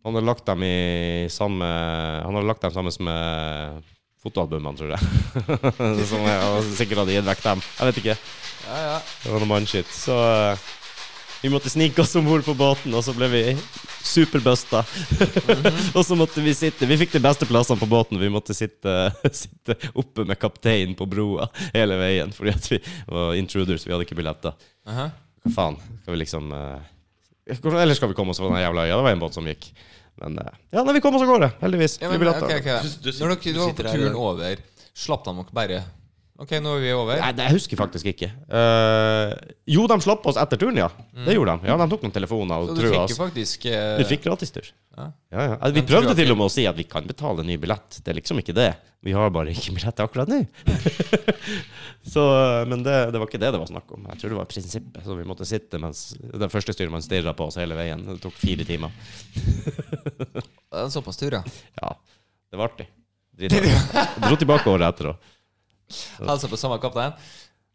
Speaker 2: Han hadde lagt dem i samme Han hadde lagt dem sammen med fotoalbumene, tror jeg. (laughs) Som jeg og sikkert hadde gitt vekk dem. Jeg vet ikke.
Speaker 1: Ja, ja.
Speaker 2: Det var noe mannskitt. Så eh, vi måtte snike oss om bord på båten, og så ble vi superbusta.
Speaker 1: Mhm.
Speaker 2: (laughs) og så måtte vi sitte Vi fikk de beste plassene på båten. Vi måtte sitte, (laughs) sitte oppe med kapteinen på broa hele veien, fordi at vi var intruders. Vi hadde ikke billetter.
Speaker 1: Aha.
Speaker 2: Hva faen? Skal vi liksom eh, Hvordan ellers skal vi komme oss fra den jævla øya? Det var en båt som gikk. Men eh, ja, nei, vi kom oss av gårde, heldigvis.
Speaker 1: Ja,
Speaker 2: vi
Speaker 4: eh,
Speaker 1: men,
Speaker 2: billetter.
Speaker 1: ok, ok.
Speaker 3: Du- du sit-
Speaker 1: Når dere var
Speaker 3: du
Speaker 1: på
Speaker 3: sitter her
Speaker 1: turen
Speaker 3: og-
Speaker 1: over, slapp de dere bare
Speaker 4: OK, nå er vi over.
Speaker 2: Nei, det jeg husker faktisk ikke. Eh, jo, de slapp oss etter turen, ja. Det gjorde de. Ja, De tok noen telefoner og
Speaker 4: Så du
Speaker 2: trua
Speaker 4: fikk
Speaker 2: oss.
Speaker 4: jo faktisk eh,
Speaker 2: Vi altså- fikk gratistur.
Speaker 4: Ja.
Speaker 2: Ja. Ja, Eh, Vi
Speaker 4: Men trua
Speaker 2: prøvde til og med å si at vi kan betale ny billett. Det er liksom ikke det. Vi har bare ikke billett akkurat nå. (laughs) så, eh, men det, det var ikke det det var snakk om. Jeg tror det var prinsippet. Så vi måtte sitte mens den første styrmannen stirra på oss hele veien. Det tok fire timer.
Speaker 4: Det er en såpass tur, ja.
Speaker 2: Ja, det var artig. Dritartig. Dro tilbake året etter òg.
Speaker 4: Altså på samme kaptein.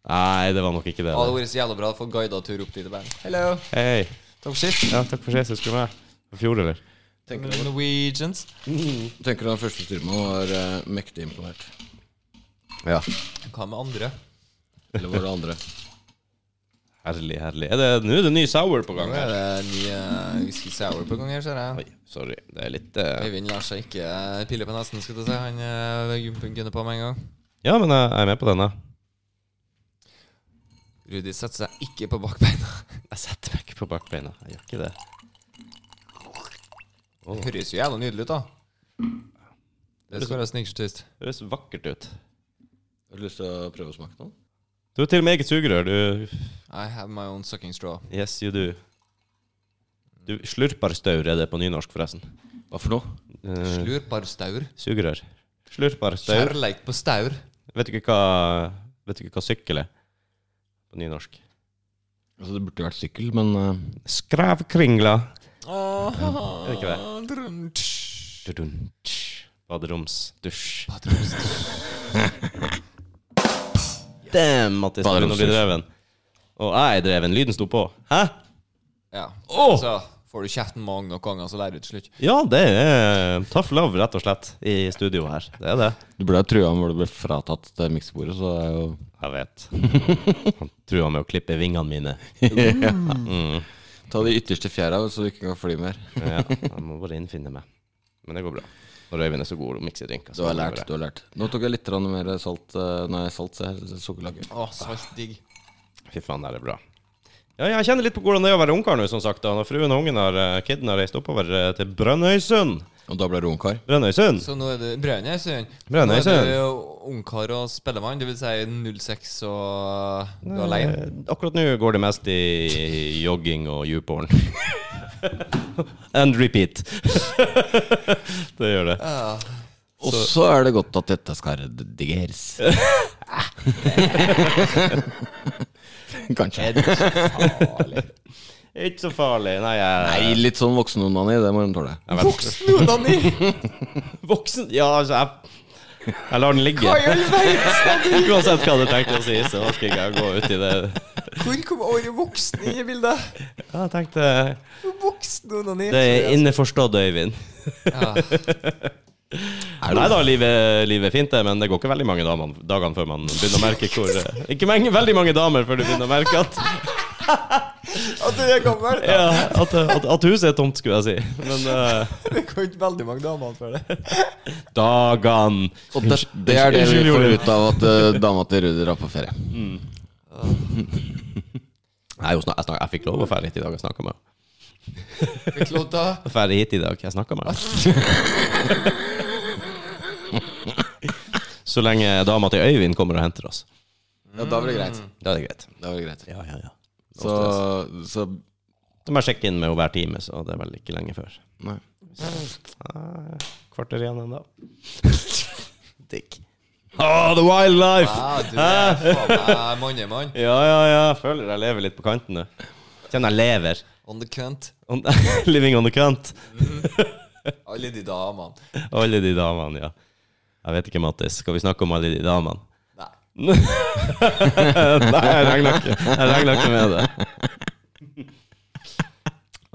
Speaker 2: Nei, det var nok ikke det.
Speaker 4: Det hadde vært så jævla bra å få guidet tur opp dit. og bare, Hello,
Speaker 2: Hei.
Speaker 4: takk for sist.
Speaker 2: Ja, takk for sist. Husker du meg? I fjor, eller?
Speaker 3: Tenker du
Speaker 4: Norwegians.
Speaker 3: tenker du han første styrmannen var eh, mektig imponert?
Speaker 2: Ja.
Speaker 4: Hva med andre?
Speaker 3: Eller var det andre?
Speaker 2: Herlig, herlig. Er det, nå er det ny sour på gang
Speaker 4: Nå
Speaker 2: her.
Speaker 4: er det ny eh, whisky sour på gang her, ser jeg.
Speaker 2: Oi, sorry. Det er litt eh,
Speaker 4: Øyvind lar seg ikke eh, pille på nesen, skal du si. Han eh, gunner på med en gang.
Speaker 2: Ja, men jeg jeg er med på denne.
Speaker 4: Rudi setter seg ikke på bakbeina.
Speaker 2: Jeg setter meg ikke på bakbeina. Jeg gjør ikke det.
Speaker 4: Det høres jo jævla nydelig ut, da. Det skal være snikskjøtist.
Speaker 2: Det høres vakkert ut.
Speaker 3: Har du lyst til å prøve å smake noe?
Speaker 2: Du har til og med eget sugerør. Du
Speaker 4: I have my own sucking straw.
Speaker 2: Yes, you do. Du slurparstaur er det på nynorsk, forresten.
Speaker 3: Hva for noe?
Speaker 2: Eh,
Speaker 4: Slurparstaur.
Speaker 2: sugerør. Slurparstaur.
Speaker 4: Kjærleik på Mm. staur.
Speaker 2: Vet du ikke hva Vet du ikke hva sykkel er på nynorsk?
Speaker 3: Altså, det burde vært sykkel, men eh,
Speaker 2: Skrævkringla.
Speaker 4: Er
Speaker 2: det ikke
Speaker 4: det?
Speaker 2: Dudun, tsch. Baderomsdusj. Damn, Mattis. du Nå blir
Speaker 3: Baderomsdusj.
Speaker 2: dreven. Og jeg er dreven. Lyden sto på. Hæ?
Speaker 4: Ja.
Speaker 2: Åh!
Speaker 4: Så får du kjeften mange nok ganger, så lærer du til slutt.
Speaker 2: Ja, det er tough love, rett og slett, i studio her. Det er det.
Speaker 3: Du ble jo trua med hvor du ble fratatt det miksebordet, så det er jo
Speaker 2: Jeg vet. Han trua med å klippe vingene mine.
Speaker 3: Ta de ytterste fjæra, så du ikke kan fly (laughs) mer.
Speaker 2: Ja, jeg må bare innfinne meg. Men det går bra. Når Øyvind er så god til å mikse drinker.
Speaker 3: Du
Speaker 2: så
Speaker 3: har
Speaker 2: går
Speaker 3: lært,
Speaker 2: det
Speaker 3: du har lært. Nå tok jeg litt grann mer salt eh, Nei, salt, se her. Sukkerlake.
Speaker 4: Å, saltdigg.
Speaker 2: bra. Fy faen, det er bra. Ja, jeg kjenner litt på hvordan det er å være ungkar nå, som sagt. da. Når fruen og ungen har, eh, kidden har reist oppover eh, til Brønnøysund.
Speaker 3: Og da ble du ungkar?
Speaker 2: Brønnøysund?
Speaker 4: Så nå er det Brønnøysund. Nå
Speaker 2: Brønnøysund.
Speaker 4: er det jo ungkar og spellemann, dvs. Si 06 og du er alene.
Speaker 2: Eh, Akkurat nå går det mest i jogging og (laughs) youporn. And repeat. (laughs) det gjør det.
Speaker 3: Og så er det godt at dette skal redigeres. (laughs) Kanskje.
Speaker 2: Ikke så farlig. Nei,
Speaker 3: Nei,
Speaker 2: jeg
Speaker 3: litt sånn voksenonani, det må hun tåle.
Speaker 2: jeg vet-
Speaker 4: Voksen onani!
Speaker 2: (laughs) Voksen Ja, altså, jeg, jeg lar den ligge. (laughs) Uansett hva du tenkte å si, så orker ikke jeg å gå ut i det.
Speaker 4: Hvor kom ordet voksen inn i bildet?
Speaker 2: Ja, jeg tenkte eh,
Speaker 4: Voksen onani.
Speaker 2: Det er innforstått, Øyvind.
Speaker 4: Ja.
Speaker 2: Nei da, livet, livet er fint, det, men det går ikke veldig mange damer, dagene før man begynner å merke hvor eh, Ikke mange, veldig mange damer før du begynner å merke at
Speaker 4: At du er gammel?
Speaker 2: Ja, at, at, at huset er tomt, skulle jeg si. Men eh,
Speaker 4: Det kom ikke veldig mange damer før det.
Speaker 2: dagene
Speaker 3: Og det, det er det vi
Speaker 2: Unnskyld,
Speaker 3: får
Speaker 2: Jorunn.
Speaker 3: ut av at eh, dama til Rudi drar på ferie.
Speaker 2: Nei, hun snak- jeg, snak, jeg fikk lov å fære hit i dag. Jeg snakka med henne.
Speaker 4: Fikk lov til å-
Speaker 2: Fære hit i dag. Jeg snakka med henne. (laughs) Så lenge dama til Øyvind kommer og henter oss.
Speaker 3: Ja, da var det greit.
Speaker 2: Da er det greit.
Speaker 3: Da var det greit.
Speaker 2: Ja, ja, ja.
Speaker 3: Mm. Så, så
Speaker 2: Så må jeg sjekke inn med henne hver time, så det er vel ikke lenge før.
Speaker 3: Nei.
Speaker 2: Ah, Kvarter igjen (laughs) ennå. Dick. Oh, the wildlife!
Speaker 4: Ja, du er faen meg mannemann.
Speaker 2: Ja, ja, ja. Jeg føler jeg lever litt på kanten nå. Kjenner jeg lever.
Speaker 4: On the cunt.
Speaker 2: On- (laughs) Living on the cunt.
Speaker 4: Alle de damene.
Speaker 2: Alle de damene, ja. Jeg vet ikke, Mattis. Skal vi snakke om alle de (laughs) damene?
Speaker 4: Nei.
Speaker 2: Nei, jeg regner ikke, jeg regner ikke med det.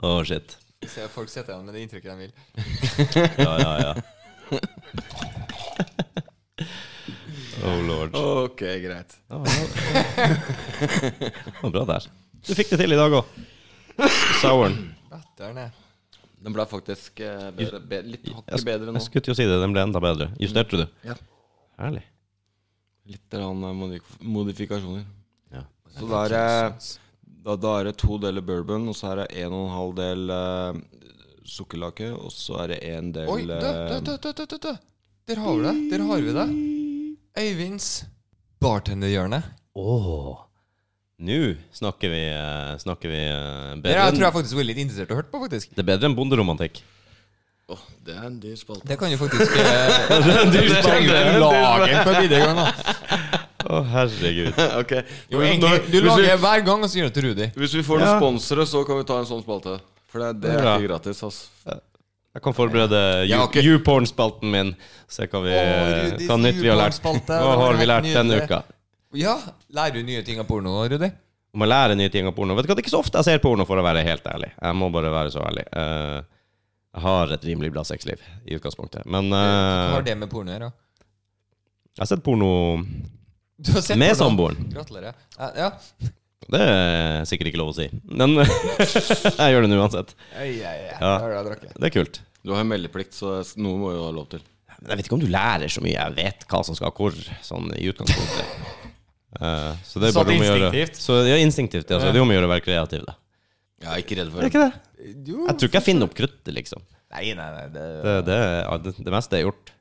Speaker 2: Å, shit.
Speaker 4: Se, folk sitter igjen med det inntrykket de vil.
Speaker 2: Ja, ja, ja. Oh lord.
Speaker 3: Ok, greit.
Speaker 2: Det var bra. Det var bra der. Du fikk det til i dag òg. Souren.
Speaker 4: Vetteren er
Speaker 3: Den ble faktisk eh, bedre, be, litt hakket bedre
Speaker 2: Jeg
Speaker 3: nå.
Speaker 2: skulle til å si det, den ble enda bedre. Justerte du?
Speaker 3: Ja.
Speaker 2: Herlig.
Speaker 3: Litt grann, eh, modif modifikasjoner.
Speaker 2: Ja.
Speaker 3: Så da er, det- da, da er det to deler bourbon, og så er det en og en halv del eh, sukkerlake, og så er det en del
Speaker 4: Oi, dø, dø, dø, dø, dø, dø, dø. Der har vi det. Der har vi det. Øyvinds bartenderhjørnet.
Speaker 2: Åh. Nå snakker vi, eh, snakker vi eh,
Speaker 4: Det
Speaker 2: bedre
Speaker 4: her tror
Speaker 2: enn,
Speaker 4: jeg faktisk var litt interessert i å høre på, faktisk.
Speaker 2: Det er bedre enn bonderomantikk.
Speaker 3: Åh, det er en dyr spalte.
Speaker 4: Det kan jo faktisk eh,
Speaker 2: Du
Speaker 4: trenger du lager på videregående. da.
Speaker 2: Å, herregud.
Speaker 3: (laughs) ok.
Speaker 4: Jo, egentlig, du
Speaker 3: hvis,
Speaker 4: lager
Speaker 3: vi,
Speaker 4: hver gang, og så gir du til Rudi.
Speaker 3: hvis vi får
Speaker 2: Ja.
Speaker 3: noen sponsere, så kan vi ta en sånn spalte. For det, det er
Speaker 2: Ja.
Speaker 3: ikke gratis. ass
Speaker 2: Jeg kan forberede
Speaker 3: Ja,
Speaker 2: you-
Speaker 3: ok.
Speaker 2: YouPorn-spalten min. Se hva, vi,
Speaker 4: Å, Rudis
Speaker 2: hva nytt vi har lært.
Speaker 4: YouPorn-spalte, det
Speaker 2: Hva
Speaker 4: var
Speaker 2: har vi
Speaker 4: helt
Speaker 2: lært denne
Speaker 4: nydelig.
Speaker 2: uka?
Speaker 4: Ja, lærer du nye ting av porno, Rudi?
Speaker 2: Om å lære nye ting av porno. Vet du hva, Det er ikke så ofte jeg ser porno, for å være helt ærlig. Jeg må bare være så ærlig. Eh, jeg har et rimelig bra sexliv i utgangspunktet. Men
Speaker 4: Hva
Speaker 2: eh,
Speaker 4: har det med porno å gjøre?
Speaker 2: jeg har sett porno
Speaker 4: Du har sett
Speaker 2: med
Speaker 4: porno.
Speaker 2: samboeren.
Speaker 4: Gratulerer. Ja, ja.
Speaker 2: Det er sikkert ikke lov å si. Men (laughs) jeg gjør det uansett.
Speaker 4: Ei, ei, ei.
Speaker 2: Ja.
Speaker 4: Der har jeg drukket.
Speaker 2: Det er kult.
Speaker 3: Du har jo meldeplikt, så s- noe må jo ha lov til.
Speaker 2: Men Jeg vet ikke om du lærer så mye. Jeg vet hva som skal hvor, sånn i utgangspunktet. Eh, så det er
Speaker 4: Satt
Speaker 2: bare om å gjøre
Speaker 4: instinktivt.
Speaker 2: Så ja, instinktivt. Ja, så det er om å gjøre å være kreativ, da.
Speaker 3: Jeg er ikke redd for
Speaker 2: Det er
Speaker 3: det.
Speaker 2: ikke det.
Speaker 4: Jo.
Speaker 2: Jeg tror ikke jeg finner opp kruttet, liksom.
Speaker 4: Nei, nei, nei. Det,
Speaker 2: Det, det, ja, det, det meste er gjort.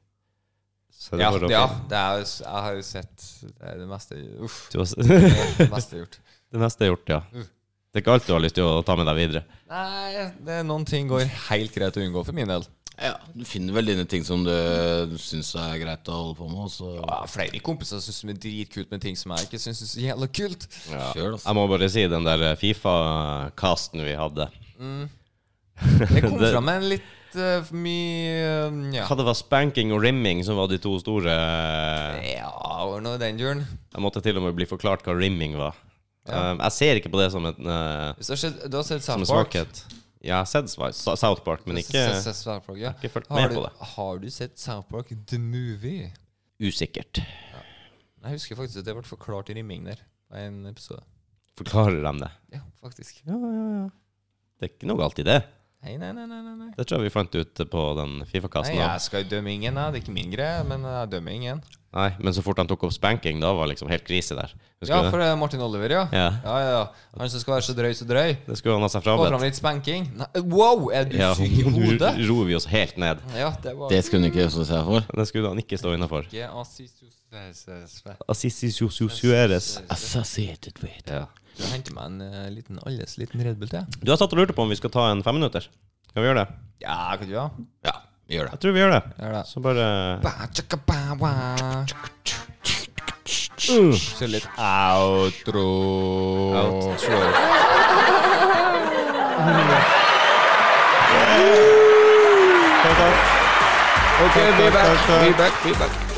Speaker 2: Så
Speaker 4: ja,
Speaker 2: bare å-
Speaker 4: det, ja, det er, jo s- jeg har jo sett det, er det meste Uff.
Speaker 2: Du har s-
Speaker 4: Det er det meste gjort.
Speaker 2: (laughs) Det meste er gjort, ja. Det er ikke alt du har lyst til å ta med deg videre.
Speaker 4: Nei, det er noen ting går helt greit å unngå for min del.
Speaker 3: Ja, Du finner vel dine ting som du, du syns er greit å holde på med, og så
Speaker 4: Ja, flere kompiser syns det er dritkult med ting som jeg ikke syns er så jævla (laughs) kult.
Speaker 3: kjør, altså.
Speaker 2: Jeg må bare si den der eh, Fifa-casten vi hadde.
Speaker 4: Det kom
Speaker 2: Det-
Speaker 4: fram en litt eh, for mye eh, Ja,
Speaker 2: Hva det var spanking og rimming som var de to store eh,
Speaker 4: ja var noe i den duren.
Speaker 2: Jeg måtte til og med bli forklart hva rimming var. Um, jeg ser ikke på det som, et, eh,
Speaker 4: Hvis du har sett- du har sett
Speaker 2: som en
Speaker 4: South Park?
Speaker 2: svakhet. Ja, jeg har sett Sva- Sa- South Park, men ikke
Speaker 4: S- s- s- South Park, ja.
Speaker 2: ikke fulgt
Speaker 4: har,
Speaker 2: med
Speaker 4: du,
Speaker 2: på det.
Speaker 4: har du sett South Park The Movie?
Speaker 2: usikkert.
Speaker 4: Nei, Jeg husker faktisk at det ble forklart i rimming der. av En episode.
Speaker 2: Forklarer de det?
Speaker 4: Ja, faktisk.
Speaker 2: Ja, ja, ja. Det er ikke noe galt i det.
Speaker 4: Nei, nei, nei. nei, nei, nei.
Speaker 2: Det tror jeg vi fant ut på den
Speaker 4: Nei,
Speaker 2: Fifa-casten.
Speaker 4: jeg
Speaker 2: Nei,
Speaker 4: skal dømme ingen, jeg. Det er ikke min greie, men eh, jeg dømmer ingen.
Speaker 2: Nei, men så fort han tok opp spanking, da var liksom helt krise der. Husker
Speaker 4: Ja,
Speaker 2: du det?
Speaker 4: for det er Martin Oliver, ja.
Speaker 2: Ja.
Speaker 4: Ja, ja, ja. Han som skal være så drøy, så drøy.
Speaker 2: Det skulle han ha seg
Speaker 4: Få fram
Speaker 2: frabedt.
Speaker 4: litt spanking. Nei, wow, er du
Speaker 2: Ja,
Speaker 4: syk (laughs) i hodet?
Speaker 2: (laughs) nå ror vi oss helt ned.
Speaker 4: Ja, det var
Speaker 3: Det skulle du ikke gjøre seg for.
Speaker 2: Det skulle han ikke stå innafor.
Speaker 4: ikke assistosesve.
Speaker 2: Assisi Suárez.
Speaker 3: Associated with
Speaker 2: Ja.
Speaker 4: Du henter meg en eh, liten alles liten Red Bull til?
Speaker 2: Du har satt og lurt på om vi skal ta en femminutter. Skal vi gjøre det?
Speaker 4: Ja, kan du ha?
Speaker 3: Ja, vi gjør det.
Speaker 2: Jeg tror vi gjør det.
Speaker 4: Gjør det.
Speaker 2: Så bare
Speaker 4: Ba, tjaka, ba, wa.
Speaker 2: uh.
Speaker 4: Så litt outro. outro.
Speaker 2: Takk, takk.
Speaker 4: Okay,
Speaker 2: be back, be
Speaker 4: back, be back.